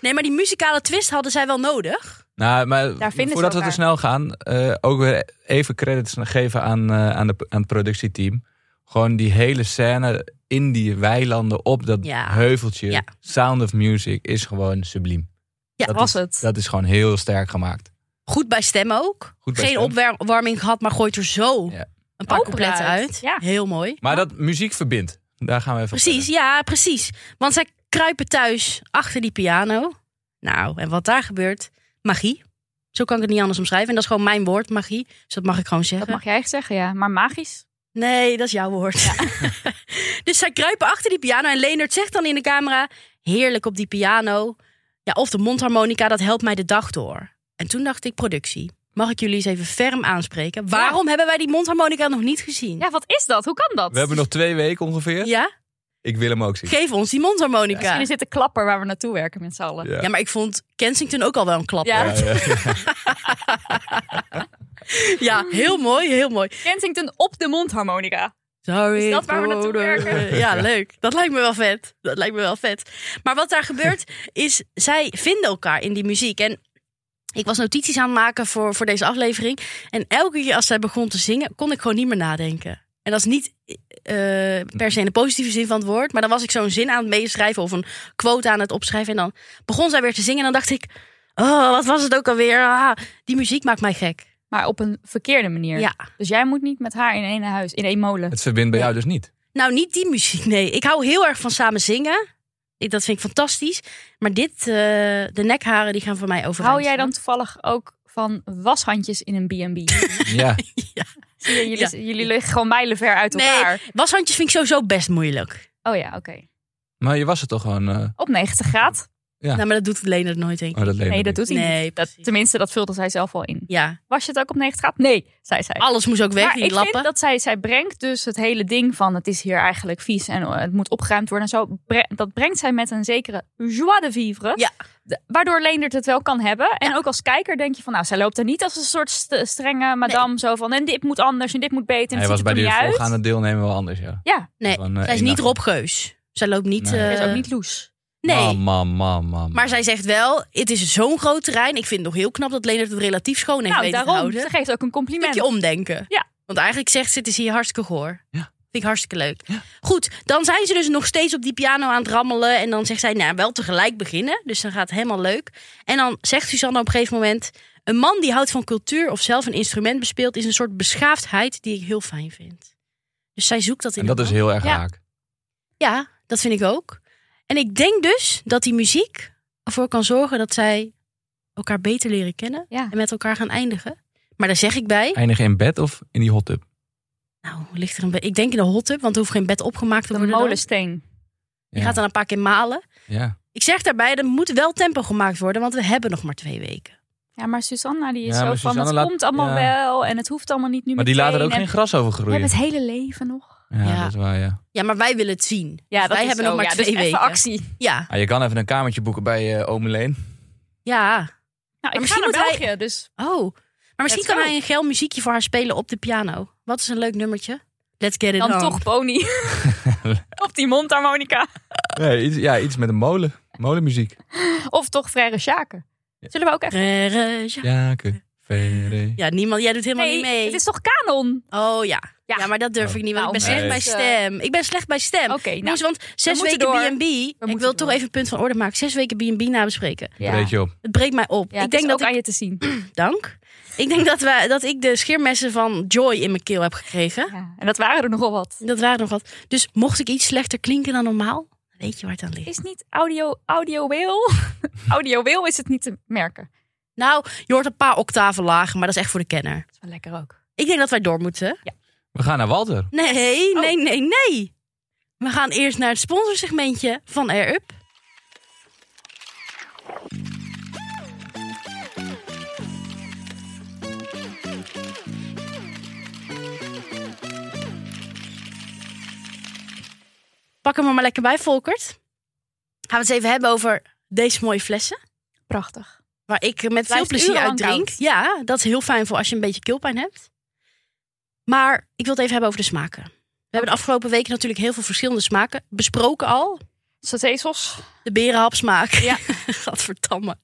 Nee, maar die muzikale twist hadden zij wel nodig.
Nou, maar
Daar vinden ze
voordat we te
elkaar.
snel gaan, eh, ook weer even credits geven aan, eh, aan, de, aan het productieteam. Gewoon die hele scène in die weilanden op dat
Ja.
heuveltje.
Ja.
Sound of Music is gewoon subliem.
Ja,
dat
was
is,
het.
Dat is gewoon heel sterk gemaakt.
Goed bij stem ook.
Goed bij
Geen
stem.
opwarming gehad, maar gooit er zo
Ja.
een paar
Opera
coupletten
uit.
uit.
Ja.
Heel mooi.
Maar dat muziek verbindt. Daar gaan we even op
Precies, ja, precies. Want zij kruipen thuis achter die piano. Nou, en wat daar gebeurt? Magie. Zo kan ik het niet anders omschrijven. En dat is gewoon mijn woord, magie. Dus dat mag ik gewoon
Dat
zeggen.
mag jij echt zeggen, ja. Maar magisch.
Nee, dat is jouw woord. dus zij kruipen achter die piano. En Leonard zegt dan in de camera: Heerlijk op die piano. Ja, of de mondharmonica, dat helpt mij de dag door. En toen dacht ik: Productie, mag ik jullie eens even ferm aanspreken? Waarom hebben wij die mondharmonica nog niet gezien?
Ja, wat is dat? Hoe kan dat?
We hebben nog twee weken ongeveer.
Ja?
Ik wil hem ook zien.
Geef ons die mondharmonica.
Misschien is dit de klapper waar we naartoe werken met z'n allen.
Ja, maar ik vond Kensington ook al wel een klap.
Ja.
Ja,
Ja, ja, ja.
heel mooi, heel mooi.
Kensington op de mondharmonica.
Sorry.
Is dat waar we naartoe
voor de-
werken?
Ja, leuk. Dat lijkt me wel vet. Dat lijkt me wel vet. Maar wat daar gebeurt, is zij vinden elkaar in die muziek. En ik was notities aan het maken voor, voor deze aflevering. En elke keer als zij begon te zingen, kon ik gewoon niet meer nadenken. En dat is niet eh, per se in de positieve zin van het woord. Maar dan was ik zo'n zin aan het meeschrijven of een quote aan het opschrijven. En dan begon zij weer te zingen. En dan dacht ik, oh, wat was het ook alweer? Ah, die muziek maakt mij gek.
Maar op een verkeerde manier.
Ja.
Dus jij moet niet met haar in één huis, in één molen.
Het verbindt bij
Ja.
jou dus niet.
Nou, niet die muziek, nee. Ik hou heel erg van samen zingen. Ik- Dat vind ik fantastisch. Maar dit, eh, de nekharen, die gaan voor mij over.
Hou jij dan toevallig ook van washandjes in een B&B?
Ja.
Zie je, jullie,
Ja.
jullie liggen gewoon mijlenver uit
Nee.
elkaar.
Washandjes vind ik sowieso best moeilijk.
Oh ja, oké.
Maar je was het toch gewoon... eh,
Op 90 graad?
Ja.
Nou, maar dat doet Leonard nooit, denk ik.
oh, dat
Nee,
leek
dat
me
doet hij
Nee,
niet.
precies.
Dat, tenminste, dat vulde zij zelf al in.
Ja,
Was je het ook op 90 graden? Nee, zei zij.
alles moest ook weg,
maar
die
ik
lappen.
vind dat zij, zij brengt dus het hele ding van het is hier eigenlijk vies en eh, het moet opgeruimd worden. En zo bre- dat brengt zij met een zekere joie de vivre.
Ja.
De- waardoor Leendert het wel kan hebben. En ook als kijker denk je van nou, zij loopt er niet als een soort st- strenge madame zo van en dit moet anders en dit moet beter. En
Hij
het
was
ziet er
bij die
niet uit.
voorgaande deelnemer wel anders, ja.
Ja,
Nee,
Van, eh,
zij is
één
niet
dag.
Rob Geus. Zij loopt niet...
Nee.
eh,
Ze is ook niet loes.
nee.
Man, man, man, man.
Maar zij zegt wel, het is zo'n groot terrein. Ik vind het nog heel knap dat Leonard het relatief schoon heeft
Nou,
weten te
daarom.
houden.
Ze geeft ook een
Een
compliment.
stukje omdenken.
Ja.
Want eigenlijk zegt ze, het is hier hartstikke goor.
Ja.
Vind ik hartstikke leuk.
Ja.
Goed, dan zijn ze dus nog steeds op die piano aan het rammelen. En dan zegt zij, nou, wel tegelijk beginnen. Dus dan gaat het helemaal leuk. En dan zegt Suzanne op een gegeven moment... Een man die houdt van cultuur of zelf een instrument bespeelt... is een soort beschaafdheid die ik heel fijn vind. Dus zij zoekt dat in
En dat
een
is
man.
heel erg
Ja.
raak.
Ja, dat vind ik ook. En ik denk dus dat die muziek ervoor kan zorgen... dat zij elkaar beter leren kennen.
Ja.
En met elkaar gaan eindigen. Maar daar zeg ik bij...
Eindigen in bed of in die hot tub?
Nou, ligt er een bed? Ik denk in de hot tub, want er hoeft geen bed opgemaakt te
Een
worden. dan.
molensteen.
Je
Ja.
gaat dan een paar keer malen.
Ja,
Ik zeg daarbij, er moet wel tempo gemaakt worden, want we hebben nog maar twee weken.
Ja, maar Susanna die
Ja,
is
maar
zo van,
Susanna
het
laat-
komt allemaal
ja.
wel en het hoeft allemaal niet nu
maar die laten er ook
meteen.
geen gras over
en We
groeien.
hebben het hele leven nog.
Ja,
Ja.
dat is waar, ja.
Ja, maar wij willen het zien. Dus wij hebben nog maar twee
dus
weken.
Even actie.
Ja,
Ah, je kan even een kamertje boeken bij eh Ome Leen.
ja.
Nou,
misschien
ik misschien ga naar
moet
België, dus
Oh, maar misschien
Let's
kan
go.
hij een geil muziekje voor haar spelen op de piano. Wat is een leuk nummertje? Let's get it
dan
on.
toch pony. Op die mondharmonica.
Nee, iets, ja, iets met een molen. Molenmuziek.
Of toch Frère Sjaken. Zullen we ook echt...
Rere- ja.
Jaken, verre.
Ja, niemand. Jij doet helemaal niet mee.
het is toch kanon?
Oh ja. ja.
Ja.
maar dat durf
Oh.
ik niet, want ik ben
Nou,
slecht bij
nee.
stem. Ik ben slecht bij stem.
Oké, nou.
Jongens, want zes
moeten
weken
door.
B&B... Ik
moeten
wil toch
door.
even een punt van orde maken. Zes weken B&B nabespreken.
Ja.
Breed je op.
Het breekt mij op.
Ja,
ik denk dat
aan
ik...
je te zien.
Dank. Ik denk dat, we, dat ik de scheermessen van Joy in mijn keel heb gekregen.
Ja, en dat waren er nogal wat.
Dat waren nog wat. Dus mocht ik iets slechter klinken dan normaal, weet je waar het aan ligt.
Is niet audio... Audio Wheel? audio Wheel is het niet te merken. Dat
Nou, je hoort een paar octaven lager, maar dat is echt voor de kenner.
is wel lekker ook.
Ik denk dat wij door moeten.
We gaan naar Walter.
Nee,
Oh.
nee, nee, nee. We gaan eerst naar het sponsorsegmentje van Air Up. Pak hem er maar lekker bij, Volkert. Gaan we het eens even hebben over deze mooie flessen.
Prachtig.
Waar ik met veel
Blijft
plezier uit
urenlang
drink.
koud.
Ja, dat is heel fijn voor als je een beetje keelpijn hebt. Maar ik wil het even hebben over de smaken. We hebben de afgelopen weken natuurlijk heel veel verschillende smaken besproken al.
Satésos.
De berenhapsmaak.
Ja.
Gadverdamme.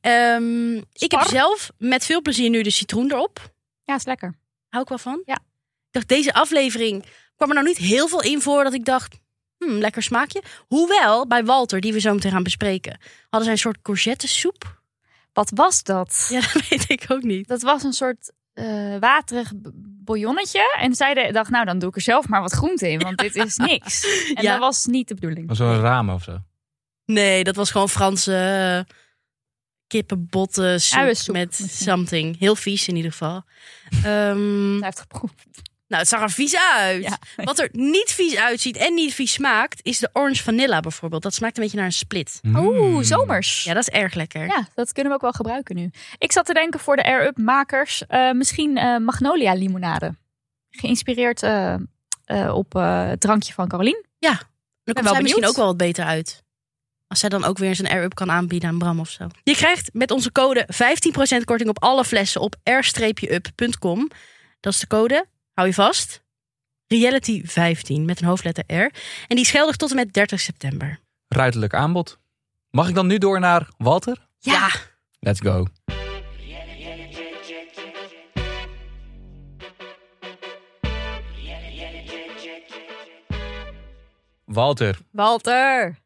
Ehm, ik heb
Spar.
zelf met veel plezier nu de citroen erop.
Ja, is lekker.
Hou ik wel van.
Ja.
Ik dacht, deze aflevering kwam er nou niet heel veel in voor dat ik dacht, hmm, lekker smaakje. Hoewel, bij Walter, die we zo meteen gaan bespreken, hadden zij een soort courgettesoep.
Wat was dat?
Ja, dat weet ik ook niet.
Dat was een soort eh, waterig b- bouillonnetje. En zij dacht, nou dan doe ik er zelf maar wat groente in, want dit is niks. En
Ja.
dat was niet de bedoeling.
Maar zo'n ramen of zo.
Nee, dat was gewoon Franse eh, kippenbotten soep
Uiensoep
met
misschien.
something. Heel vies in ieder geval. Ehm,
Hij heeft geproefd.
nou, het zag er vies uit.
Ja.
Wat er niet vies uitziet en niet vies smaakt, is de orange vanilla bijvoorbeeld. Dat smaakt een beetje naar een split.
Oeh,
Mm.
zomers.
Ja, dat is erg lekker.
Ja, dat kunnen we ook wel gebruiken nu. Ik zat te denken voor de Air Up makers, eh, misschien eh, Magnolia limonade. Geïnspireerd eh, eh, op eh, het drankje van Caroline.
Dan
ben
komt
wel
zij misschien
benieuwd.
ook wel wat beter uit. Als zij dan ook weer eens een air-up kan aanbieden aan Bram of zo. Je krijgt met onze code 15% korting op alle flessen op r-up.com. Dat is de code. Hou je vast. Reality 15 met een hoofdletter R. En die is geldig tot en met 30 september.
Ruiterlijk aanbod. Mag ik dan nu door naar Walter?
Ja.
Let's go. Walter,
Walter,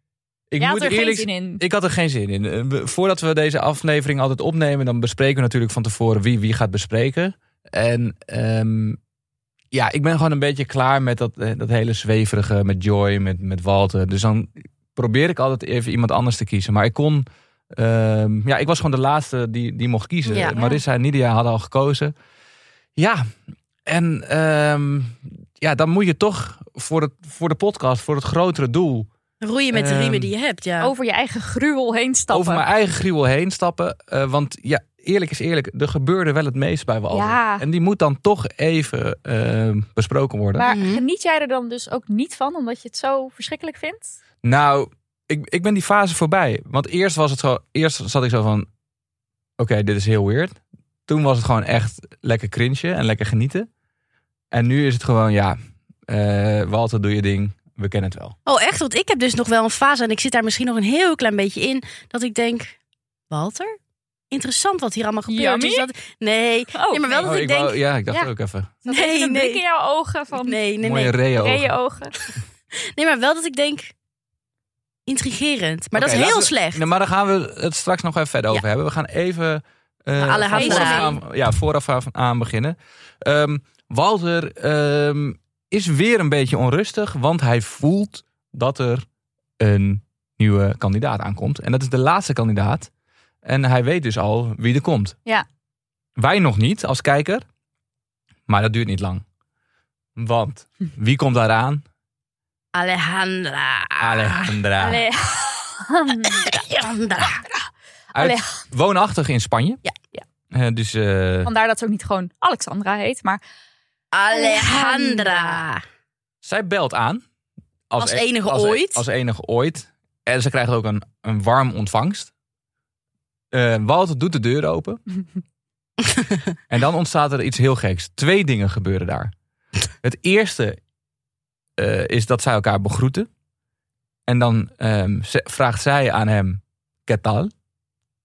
ik
jij
moet
had er
eerlijk
geen zin in.
Ehm, Ik had er geen zin in. Eh, we- Voordat we deze aflevering altijd opnemen, dan bespreken we natuurlijk van tevoren wie wie gaat bespreken. En ehm, ja, ik ben gewoon een beetje klaar met dat, eh, dat hele zweverige, met Joy, met, met Walter. Dus dan probeer ik altijd even iemand anders te kiezen. Maar ik kon, ehm, ja, ik was gewoon de laatste die, die mocht kiezen.
Ja.
Marissa en Nidia hadden al gekozen. Ja, en ehm, ja, dan moet je toch voor, het, voor de podcast, voor het grotere doel,
Roeien met de
Ehm,
riemen die je hebt, ja.
Over je eigen gruwel heen stappen.
over mijn eigen gruwel heen stappen. Eh, want ja, eerlijk is eerlijk, er gebeurde wel het meest bij Walter.
Ja.
En die moet dan toch even eh, besproken worden.
Maar
Mhm.
geniet jij er dan dus ook niet van, omdat je het zo verschrikkelijk vindt?
Nou, ik, ik ben die fase voorbij. Want eerst was het zo, eerst zat ik zo van, oké, dit is heel weird. Toen was het gewoon echt lekker cringe en lekker genieten. En nu is het gewoon, ja, eh, Walter, doe je ding. We kennen het wel.
Oh, echt? Want ik heb dus nog wel een fase en ik zit daar misschien nog een heel klein beetje in. Dat ik denk, Walter? Interessant wat hier allemaal gebeurt.
Yummy?
Dus dat, nee,
Oh,
nee, maar wel dat ik denk...
wou- ja, ik dacht
Ja.
ook even.
Zat
Nee,
even een
nee.
blik in jouw ogen van nee,
Nee, nee,
Mooie
nee.
reeën ogen.
ogen.
Nee, maar wel dat ik denk. Intrigerend. Maar
Oké,
dat is heel
laten
slecht.
Nee, maar daar gaan we het straks nog even verder
Ja. Nou,
over hebben. We gaan even eh,
Alle haat
vooraf,
vandaan.
aan, ja, vooraf aan- aan beginnen. Ehm, Walter ehm, is weer een beetje onrustig, want hij voelt dat er een nieuwe kandidaat aankomt. En dat is de laatste kandidaat. En hij weet dus al wie er komt.
Ja.
Wij nog niet als kijker, maar dat duurt niet lang. Want wie komt daaraan?
Alejandra.
Alejandra.
Allee. Ah.
Alejandra.
Uit, woonachtig in Spanje.
Ja,
ja.
Eh, dus eh,
Vandaar dat ze ook niet gewoon Alexandra heet, maar
Alejandra.
Zij belt aan.
Als enige
als- e-
ooit.
Als enige ooit. En ze krijgt ook een, een warm ontvangst. Eh, Walter doet de deur open. en dan ontstaat er iets heel geks. Twee dingen gebeuren daar. Het eerste eh, is dat zij elkaar begroeten. En dan ehm, ze- vraagt zij aan hem, ¿qué tal?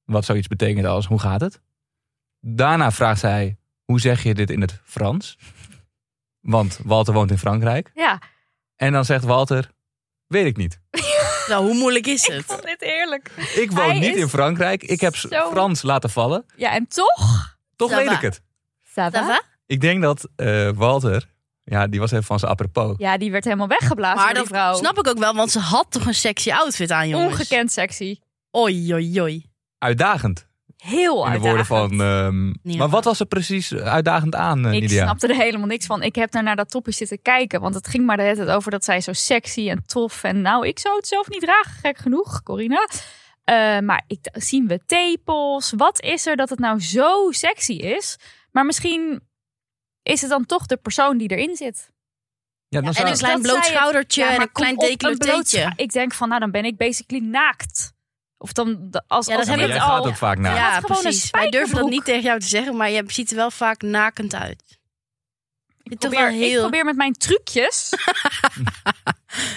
Wat zoiets betekent als, hoe gaat het? Daarna vraagt zij, hoe zeg je dit in het Frans? Want Walter woont in Frankrijk.
ja.
En dan zegt Walter, weet ik niet.
Nou, hoe moeilijk is
Ik
het?
vond dit eerlijk.
Ik woon
Hij
niet
is
in Frankrijk. Ik heb s-
zo-
Frans laten vallen.
Ja, en toch?
Toch
Ça
weet
va.
ik het.
Ça va?
Ik denk dat eh, Walter, ja, die was even van zijn apropos.
Ja, die werd helemaal weggeblazen
Maar
door
dat
die vrouw.
snap ik ook wel, want ze had toch een sexy outfit aan, jongens.
Ongekend sexy.
Oi, oi, oi.
Uitdagend.
Heel
In de
uitdagend.
woorden van. ehm,
Ja.
Maar wat was er precies uitdagend aan, eh,
ik
Nidia?
snapte er helemaal niks van. Ik heb daar naar dat topje zitten kijken. Want het ging maar de hele tijd over dat zij zo sexy en tof. En nou, ik zou het zelf niet dragen. Gek genoeg, Corina. Eh, maar ik, d- zien we tepels? Wat is er dat het nou zo sexy is? Maar misschien is het dan toch de persoon die erin zit.
Ja, dan
En
zou...
een klein
dat
bloot
zei het.
schoudertje
Ja,
en
maar
een klein
kom op, een
decolletéetje.
bloot scha- Ik denk van, nou dan ben ik basically naakt. Of dan de- als,
Ja, dat
als
Ja, maar
hebben
dit
jij
we al-
gaat ook vaak naar.
Ja.
Ja,
had gewoon een
precies. Wij durven dat
spijkerbroek.
niet tegen jou te zeggen, maar je ziet er wel vaak nakend uit.
Ik Ik
Toch wel
probeer, ik
heel-
probeer met mijn trucjes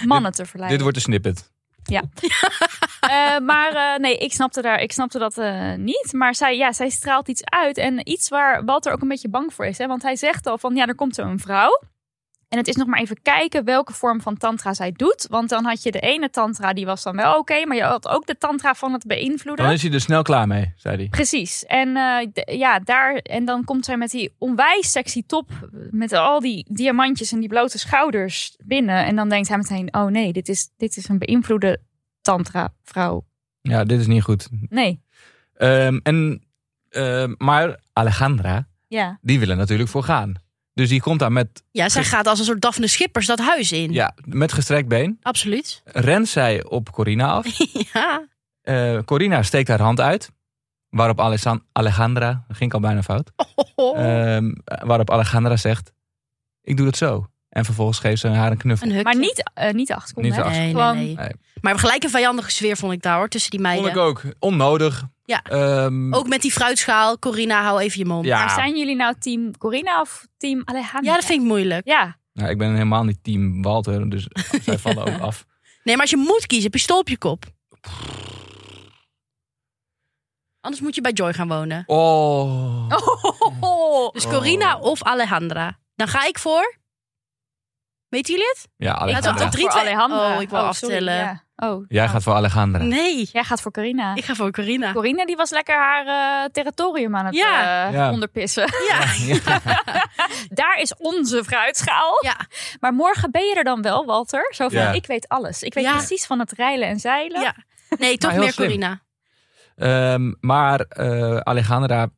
mannen te verleiden.
Dit wordt een snippet.
Eh, maar eh, nee, ik snapte, daar, ik snapte dat eh, niet. Maar zij, ja, zij straalt iets uit. En iets waar Walter ook een beetje bang voor is. Hè? Want hij zegt al van, ja, er komt zo'n vrouw. En het is nog maar even kijken welke vorm van tantra zij doet. Want dan had je de ene tantra, die was dan wel oké. maar je had ook de tantra van het beïnvloeden.
Dan is hij er snel klaar mee, zei hij.
Precies. En, eh, d- ja, daar, en dan komt zij met die onwijs sexy top. Met al die diamantjes en die blote schouders binnen. En dan denkt hij meteen, oh nee, dit is, dit is een beïnvloede tantra vrouw.
Ja, dit is niet goed.
Nee,
Ehm, en, ehm, maar Alejandra,
ja.
die willen natuurlijk voor gaan. Dus die komt daar met,
Ja, zij gaat als een soort Daphne Schippers dat huis in.
ja, met gestrekt been.
Absoluut.
Rent zij op Corina af.
Ja.
Eh, Corina steekt haar hand uit. Waarop Alessan- Alejandra, dat ging ik al bijna fout.
Oh.
Eh,
Ehm, waarop Alejandra zegt, ik doe het zo. En vervolgens geeft ze haar een knuffel.
een hukje.
Maar niet, eh niet de acht seconden.
Niet de
hè?
acht.
Nee, nee,
Gewoon-
nee.
Nee.
Maar gelijk een vijandige sfeer vond ik daar hoor, tussen die
Vond ik
meiden.
ook onnodig.
Ja.
Ehm,
Ook met die fruitschaal. Corina, hou even je mond.
Maar
ja.
zijn jullie nou team Corina of team Alejandra?
Ja, dat vind ik moeilijk.
Ja,
Nou, ik ben helemaal niet team Walter, dus zij vallen ook af.
Nee, maar als je moet kiezen, pistool op je kop. Anders moet je bij Joy gaan wonen.
Oh.
Dus
Oh.
Corina of Alejandra. Dan ga ik voor. Weten jullie het?
Ja,
Laten we
Alejandra.
op drie, twee-
Alejandra.
Oh, ik wil
sorry,
aftellen.
ja. Oh,
Jij
oh.
gaat voor Alejandra.
Nee,
Jij gaat voor Corina.
ik ga voor Corina.
Corina die was lekker haar eh, territorium aan het
Ja.
eh,
Ja.
onderpissen.
Ja.
Ja.
Daar is onze fruitschaal.
Ja.
Maar morgen ben je er dan wel, Walter. Zo van,
Ja.
ik weet alles. Ik weet
Ja.
precies van het rijlen en zeilen.
Ja. Nee, toch
heel
meer
slim.
Corina.
Ehm, maar eh, Alejandra,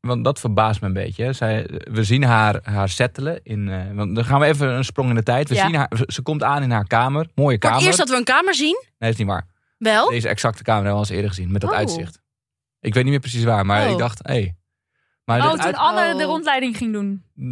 want dat verbaast me een beetje. hè. Zij, we zien haar, haar settelen. In, eh, want dan gaan we even een sprong in de tijd. We
Ja.
zien haar, ze komt aan in haar kamer. Mooie
Voor het
kamer.
eerst dat Oh. we een kamer zien.
Nee, is niet waar.
Wel.
Deze exacte kamer hebben we al eens eerder gezien. Met dat
Oh.
uitzicht. Ik weet niet meer precies waar, maar
Oh.
ik dacht, hé. Hey. Maar
Oh,
dat
toen
uit-
Anne
Oh.
de rondleiding ging doen.
Ja,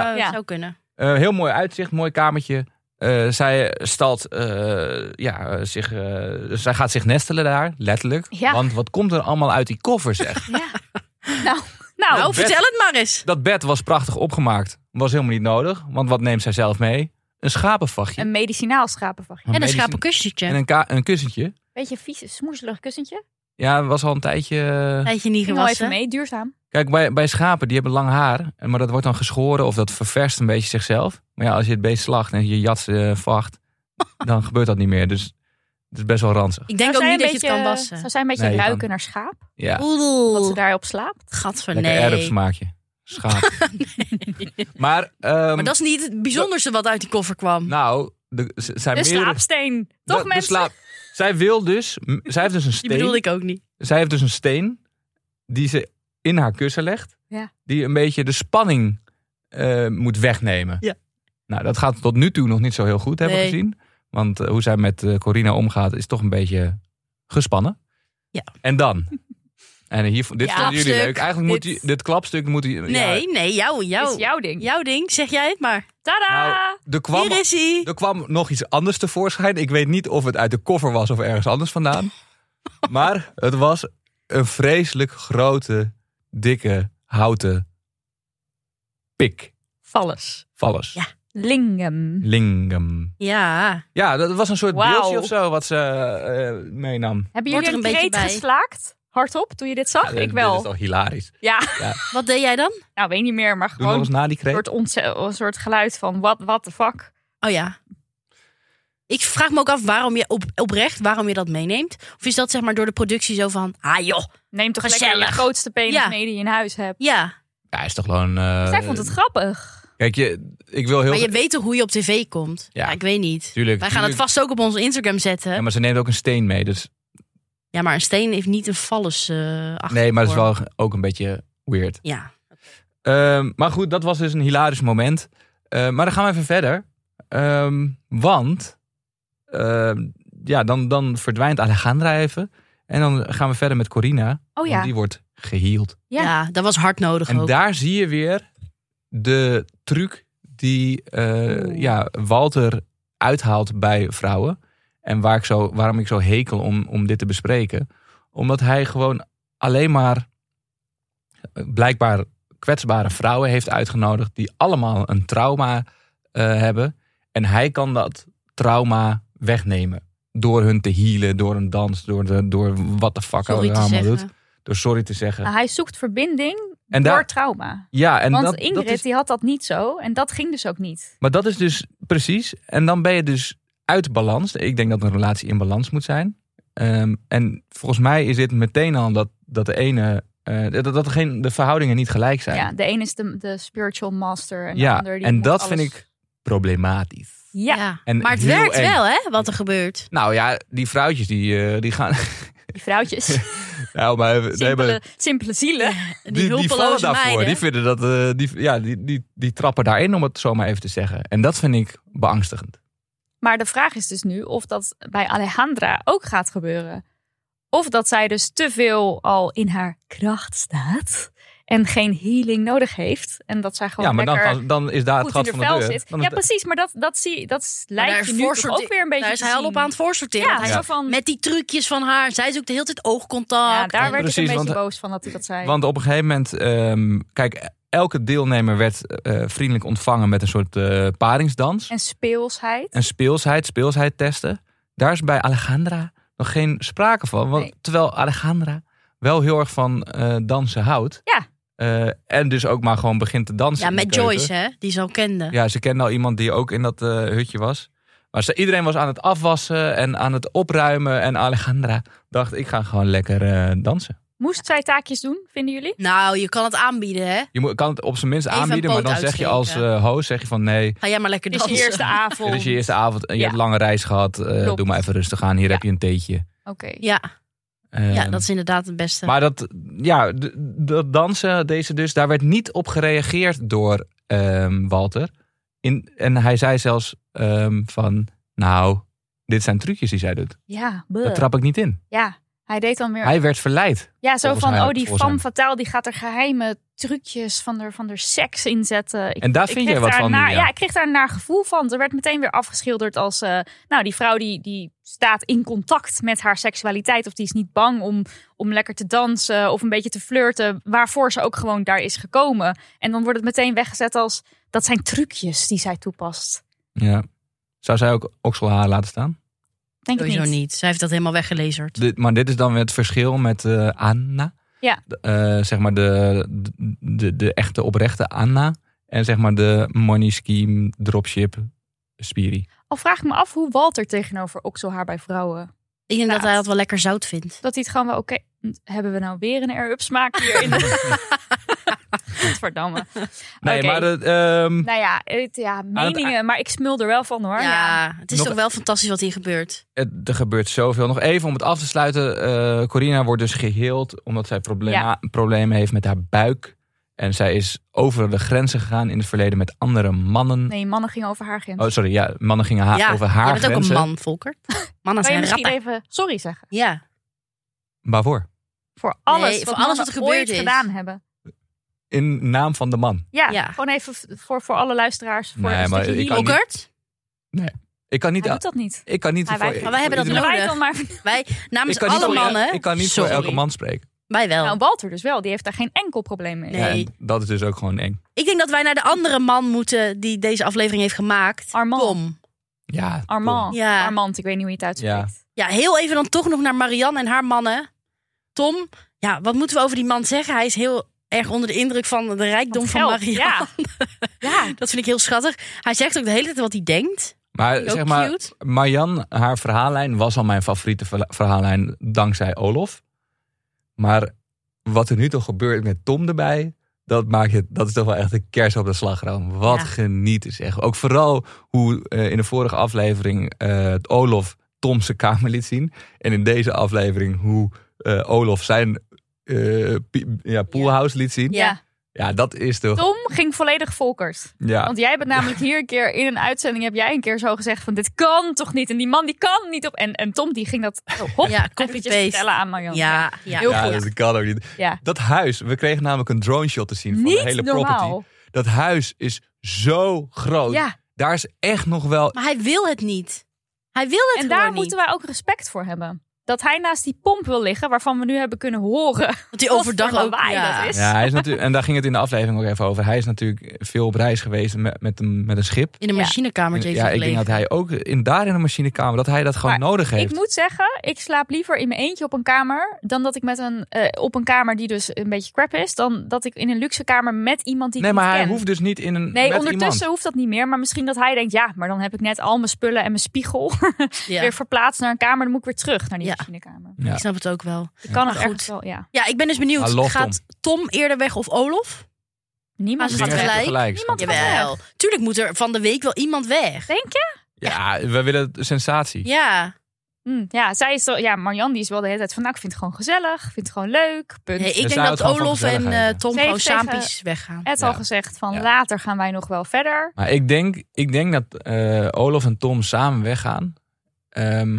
ja.
ja.
zou kunnen.
Eh, heel mooi uitzicht, mooi kamertje. Eh, zij stalt, eh, ja, eh, zich, eh, zij gaat zich nestelen daar, letterlijk.
Ja.
Want wat komt er allemaal uit die koffer, zeg?
Ja. nou, nou,
Nou,
bed.
vertel het maar eens.
dat bed was prachtig opgemaakt. Was helemaal niet nodig, want wat neemt zij zelf mee? Een schapenvachtje.
een medicinaal schapenvachtje.
En een
medicijn- En
schapenkussentje.
een, ka- een kussentje.
Beetje vies, smoezelig kussentje.
Ja, was al een tijdje... eh,
Tijdje niet
Ging wel even
gewassen.
mee, duurzaam.
Kijk, bij, bij schapen, die hebben lang haar. en- Maar dat wordt dan geschoren of dat ververst een beetje zichzelf. Maar ja, als je het beest slacht en je jat ze vacht, dan gebeurt dat niet meer. Dus het is best wel ranzig.
Ik denk ook
Zou zij
niet
een
dat je het kan
beetje-
wassen.
Zou zij een beetje
Nee, je
ruiken
kan-
naar schaap?
Ja.
Dat
Oeh,
ze daarop slaapt?
gadver,
Lekker
nee.
Arab smaakje. Schaap. Maar, ehm,
Maar dat is niet het bijzonderste wat uit die koffer kwam.
nou, de, z- zijn
Een
meerdere-
slaapsteen.
de-
Toch
de
mensen?
slaap- zij wil dus, m- zij heeft dus een
die
steen.
bedoelde ik ook niet.
Zij heeft dus een steen die ze in haar kussen legt.
Ja.
Die een beetje de spanning eh, moet wegnemen.
Ja.
Nou, dat gaat tot nu toe nog niet zo heel goed, hebben we
Nee.
gezien. Want eh, hoe zij met eh, Corina omgaat is toch een beetje gespannen.
Ja.
En dan? En hier, dit
Ja,
vonden jullie
klapstuk.
leuk. Eigenlijk moet
Dit-
je, dit klapstuk moet je...
Nee, nee, jou,
Dat
jou.
is jouw ding.
Jouw ding, zeg jij het maar.
Tada!
Nou, er kwam,
Hier is hij.
er kwam nog iets anders tevoorschijn. Ik weet niet of het uit de koffer was of ergens anders vandaan. Maar het was een vreselijk grote, dikke, houten pik.
Valles.
Valles.
Ja.
Lingam.
Lingam.
Ja,
Ja, dat was een soort
Wauw.
beeldje of zo wat ze eh, meenam.
Hebben
Wordt
jullie
er
een
een beetje
kreet
bij.
geslaakt? Hardop, toen je dit zag?
Ja,
ik
Dit
wel.
is toch hilarisch.
Ja,
wat deed jij dan?
nou weet niet meer, maar
Doe nog
gewoon
eens na die
een
kreet.
soort, ontze- een soort geluid van what, what the fuck.
Oh ja. Ik vraag me ook af waarom je op, oprecht waarom je dat meeneemt. Of is dat zeg maar door de productie zo van, ah joh,
Neem toch lekker
Gezellig.
de grootste penis
Ja.
mee die je in huis hebt.
ja.
Ja, is toch gewoon... eh,
Zij vond het grappig.
Kijk, je, ik wil heel...
Maar je weet toch hoe je op tv komt?
Ja.
Ja, ik weet niet.
Tuurlijk,
Wij gaan het
tuurlijk.
vast ook op onze Instagram zetten.
Ja, maar ze neemt ook een steen mee. Dus
Ja, maar een steen heeft niet een vallus eh achter.
nee, maar het is wel ook een beetje weird.
Ja.
Ehm, maar goed, dat was dus een hilarisch moment. Ehm, maar dan gaan we even verder. Ehm, want ehm, ja, dan, dan verdwijnt Alejandra even. En dan gaan we verder met Corina.
Oh
Want
ja.
die wordt geheeld.
ja.
Ja.
dat was hard nodig
En
ook.
daar zie je weer de truc die eh,
Oeh.
ja, Walter uithaalt bij vrouwen. En waar ik zo, waarom ik zo hekel om, om dit te bespreken. Omdat hij gewoon alleen maar eh, blijkbaar kwetsbare vrouwen heeft uitgenodigd. Die allemaal een trauma eh, hebben. En hij kan dat trauma wegnemen. Door hun te healen, door een dans, door, de, door wat de fuck hij
Sorry te
allemaal doet.
zeggen. Ah,
Door sorry te zeggen.
Nou, hij zoekt verbinding
en
door
daar,
trauma.
ja, en
Want
dat,
Ingrid
dat is,
die had dat niet zo en dat ging dus ook niet.
maar dat is dus precies. En dan ben je dus uit balans. Ik denk dat een relatie in balans moet zijn. Ehm, en volgens mij is dit meteen al dat, dat de ene. eh, dat dat er geen, de verhoudingen niet gelijk zijn.
Ja, de een is de, de spiritual master en de
Ja,
ander die
en
moet
dat vind
alles-
ik problematisch.
Ja,
Ja.
En
maar het
heel
werkt
eng.
wel, hè, wat er gebeurt.
Nou ja, die vrouwtjes die, eh, die gaan.
die vrouwtjes.
nou, maar, even- nee, maar-
Simpele, simpele zielen.
Die,
die, die vallen
hulpeloze
daarvoor.
meiden.
Die, vinden dat, eh, die, ja, die, die, die trappen daarin, om het zo maar even te zeggen. En dat vind ik beangstigend.
Maar de vraag is dus nu of dat bij Alejandra ook gaat gebeuren. Of dat zij dus te veel al in haar kracht staat en geen healing nodig heeft. En dat zij gewoon
ja, maar dan,
lekker
gaan- dan is daar het
goed in
gat
de
van de
vel
deur.
zit.
Dan
ja,
is-
precies. Maar dat, dat, zie, dat
Maar
lijkt je
daar
nu toch
voorsorte-
ook weer een beetje
Daar is
te
hij al
zien.
op aan het voorsorteren.
Ja,
Want hij
zo
zat
van...
met die trucjes van haar. Zij zoekt de hele tijd
ja,
oogcontact.
daar werd ik
Precies,
een beetje
want-
boos van dat hij dat zei.
Want op een gegeven moment, ehm, kijk, elke deelnemer werd eh, vriendelijk ontvangen met een soort eh, paringsdans.
en speelsheid.
En speelsheid, speelsheid testen. Daar is bij Alejandra nog geen sprake van. Want,
Nee.
Terwijl Alejandra wel heel erg van eh, dansen houdt.
Ja.
Eh, en dus ook maar gewoon begint te dansen.
Ja,
in de
met
keuken.
Joyce, hè, die ze al kende.
Ja, ze kende al iemand die ook in dat eh, hutje was. Maar ze, iedereen was aan het afwassen en aan het opruimen. En Alejandra dacht, ik ga gewoon lekker eh, dansen.
Moest zij taakjes doen, vinden jullie?
Nou, je kan het aanbieden, hè.
Je moet, kan het op zijn minst
Even een
aanbieden, maar
poot
dan zeg je als
uitsteken.
eh host, zeg je van nee,
Ga jij maar lekker
Dit is
dansen.
je eerste avond.
dit is je eerste avond en je
Ja.
hebt lange reis gehad. eh,
Klopt.
doe maar even rustig aan, hier
Ja.
heb je een theetje.
Oké.
Ja, ja,
Ehm,
dat is inderdaad het beste.
Maar dat, ja, d- dat dansen, deze dus, daar werd niet op gereageerd door ehm, Walter. In, en hij zei zelfs ehm, van, nou, dit zijn trucjes die zij doet.
Ja,
Daar
bleh.
trap ik niet in.
ja, hij deed dan weer
Hij werd verleid.
Ja, zo
Volgens
van,
mij
oh,
ook,
die
volgens
femme
hem.
fatale die gaat er geheime trucjes van haar van haar seks in zetten. Ik,
En daar
ik
vind
kreeg
jij wat
daar
van,
Naar,
Mia?
ja, ik kreeg daar een naar gevoel van. Er werd meteen weer afgeschilderd als, eh, nou, die vrouw die, die staat in contact met haar seksualiteit. Of die is niet bang om, om lekker te dansen of een beetje te flirten. Waarvoor ze ook gewoon daar is gekomen. En dan wordt het meteen weggezet als, dat zijn trucjes die zij toepast.
Ja. Zou zij ook okselhaar laten staan?
Denk
Sowieso
ik
niet.
niet.
Zij heeft dat helemaal weggelezerd.
Dit, maar dit is dan weer het verschil met eh, Anna.
Ja.
De, eh, zeg maar de, de, de, de echte oprechte Anna. En zeg maar de money scheme, dropship, spiri.
Al vraag ik me af hoe Walter tegenover okselhaar bij vrouwen
Ik denk dat
Inderdaad.
hij dat wel lekker zout vindt.
Dat hij het gewoon wel oké... Hebben we nou weer een air-up smaak hier in de... Godverdamme.
Nee,
Oké.
maar de, ehm,
Nou ja, het, ja meningen,
e-
maar ik smul er wel van hoor. Ja.
Ja, het is
Nog-
toch wel fantastisch wat hier gebeurt.
het- er gebeurt zoveel. Nog even om het af te sluiten. eh, Corina wordt dus geheeld omdat zij problema- problemen heeft met haar buik. En zij is over de grenzen gegaan in het verleden met andere mannen.
Nee, mannen gingen over haar grens.
Oh, sorry. Ja, mannen gingen ha-
ja,
over haar
je bent ook
grenzen.
een man, Volker. Mannen
kan je
zijn
misschien
rappen.
even sorry zeggen?
Ja.
Waarvoor?
Voor alles,
Nee,
wat,
voor alles
mannen
wat er gebeurd
ooit
is.
gedaan hebben.
In naam van de man.
Ja,
Ja.
gewoon even v- voor, voor alle luisteraars. Voor
Nee,
een
maar
stukje
ik kan
healing.
niet-
Volkert,
Ik kan niet.
Hij doet dat niet.
Ik kan niet.
Hij
voor-
weigert.
Maar wij hebben dat
ik-
nodig.
Wij dan maar...
wij namens
Ik kan niet,
alle
voor,
mannen.
ik kan niet voor
Sorry.
elke man spreken.
Wij wel.
Nou, Walter dus wel. Die heeft daar geen enkel probleem mee.
Nee.
Ja, en dat is dus ook gewoon eng.
Ik denk dat wij naar de andere man moeten die deze aflevering heeft gemaakt.
Armand.
Tom.
Ja,
Armand.
Ja.
Armand, ik weet niet hoe je het uitspreekt.
Ja, heel even dan toch nog naar Marianne en haar mannen. Tom, ja, wat moeten we over die man zeggen? Hij is heel erg onder de indruk van de rijkdom
Want
van
geld,
Marianne.
ja. Ja,
Dat vind ik heel schattig. Hij zegt ook de hele tijd wat hij denkt.
Maar
Ook
Eh, zeg maar,
cute.
Marjan, haar verhaallijn was al mijn favoriete verla- verhaallijn dankzij Olof. Maar wat er nu toch gebeurt met Tom erbij, dat maakt het, dat is toch wel echt de kers op de slagroom. Wat
Ja.
genieten zeg. Ook vooral hoe eh, in de vorige aflevering eh, Olof Tom zijn kamer liet zien. En in deze aflevering hoe eh, Olof zijn eh, pi- ja, poolhouse liet zien. Ja.
Ja.
ja.
dat is toch...
Tom ging volledig volkerd.
Ah. Ja.
Want jij bent namelijk hier een keer in een uitzending heb jij een keer zo gezegd van dit kan toch niet en die man die kan niet op en, en Tom die ging dat zo, hop
Ja,
eventjes
copy-paste.
vertellen aan Marjan.
Ja, ja.
Heel
ja,
goed.
dat kan ook niet.
Ja.
Dat huis, we kregen namelijk een drone shot te zien van de
niet
hele property. Oh,
normaal.
Dat huis is zo groot.
Ja,
Daar is echt nog wel.
Maar hij wil het niet. Hij wil het
en
gewoon
daar
niet.
moeten wij ook respect voor hebben. dat hij naast die pomp wil liggen, waarvan we nu hebben kunnen horen.
Dat die
wat
overdag
voor
ook...
lawaai
Ja.
dat is.
Ja, hij is natuurlijk, en daar ging het in de aflevering ook even over. Hij is natuurlijk veel op reis geweest met, met, een, met een schip.
In een
Ja.
machinekamertje heeft
ja,
hij
ik denk dat
gelegen.
hij ook in, daar in de machinekamer, dat hij dat gewoon
Maar
nodig heeft.
Ik moet zeggen, ik slaap liever in mijn eentje op een kamer dan dat ik met een eh, op een kamer die dus een beetje crap is, dan dat ik in een luxe kamer met iemand die ik
nee,
niet
maar hij
ken.
hoeft dus niet in een.
Nee,
met
ondertussen
Iemand.
hoeft dat niet meer. Maar misschien dat hij denkt, ja, maar dan heb ik net al mijn spullen en mijn spiegel
Ja.
weer verplaatst naar een kamer. Dan moet ik weer terug naar die
Ja.
machinekamer.
Ja.
Ik snap het ook wel.
Ik kan
Maar
er
goed.
ergens wel, ja.
Ja, ik ben dus benieuwd.
Hallo, Tom.
gaat Tom eerder weg of Olof?
Niemand
Maar
gaat
ze
weg.
tegelijk-
Niemand
schat.
gaat
Jawel. Tuurlijk moet er van de week wel iemand weg.
Denk je?
Ja, we willen sensatie.
Ja.
Hm, ja, zij is er, ja, Marianne die is wel de hele tijd van, nou, ik vind het gewoon gezellig. Ik vind het gewoon leuk. Punt.
Nee, ik
Dus
denk
hij
dat
houdt gewoon van
Olof en eh,
gezelligheden.
Tom
Ze
gewoon
heeft tegen-
saampies weggaan.
Ed
Ja.
al gezegd van,
Ja.
later gaan wij nog wel verder.
Maar ik denk, ik denk dat eh, Olof en Tom samen weggaan. ehm,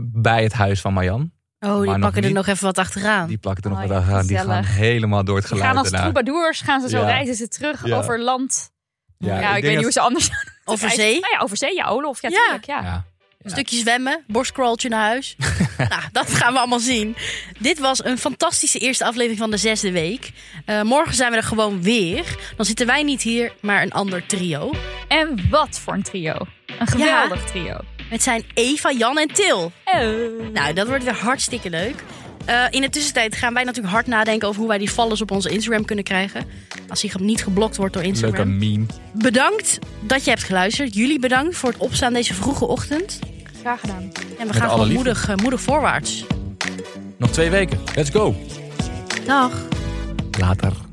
bij het huis van Marjan.
Oh, die
nog
pakken er
niet.
nog even wat achteraan.
Die plakt er nog
Oh,
wat aan. Die gaan
gezellig.
helemaal door het
Ze
geluid
gaan als
daarna.
troubadours, gaan ze zo
Ja.
reizen ze terug
Ja.
over land. Ja, ik,
denk
weet niet hoe
dat-
ze anders
Over
reizen.
zee.
Nou ja, over zee, ja, Olof, ja,
Ja.
tuurlijk, ja.
Ja.
Een stukje zwemmen, borstcrawltje naar huis. nou, dat gaan we allemaal zien. Dit was een fantastische eerste aflevering van de zesde week. Eh, morgen zijn we er gewoon weer. Dan zitten wij niet hier, maar een ander trio.
En wat voor een trio. Een geweldig trio.
Het zijn Eva, Jan en Til.
Eh.
Nou, dat wordt weer hartstikke leuk. Eh, in de tussentijd gaan wij natuurlijk hard nadenken over hoe wij die followers op onze Instagram kunnen krijgen. Als die ge- niet geblokt wordt door Instagram.
Leuke meme.
Bedankt dat je hebt geluisterd. Jullie bedankt voor het opstaan deze vroege ochtend.
Graag gedaan.
En we
alle
gaan gewoon
liefde.
moedig, eh, moedig voorwaarts.
Nog twee weken. Let's go.
Dag.
Later.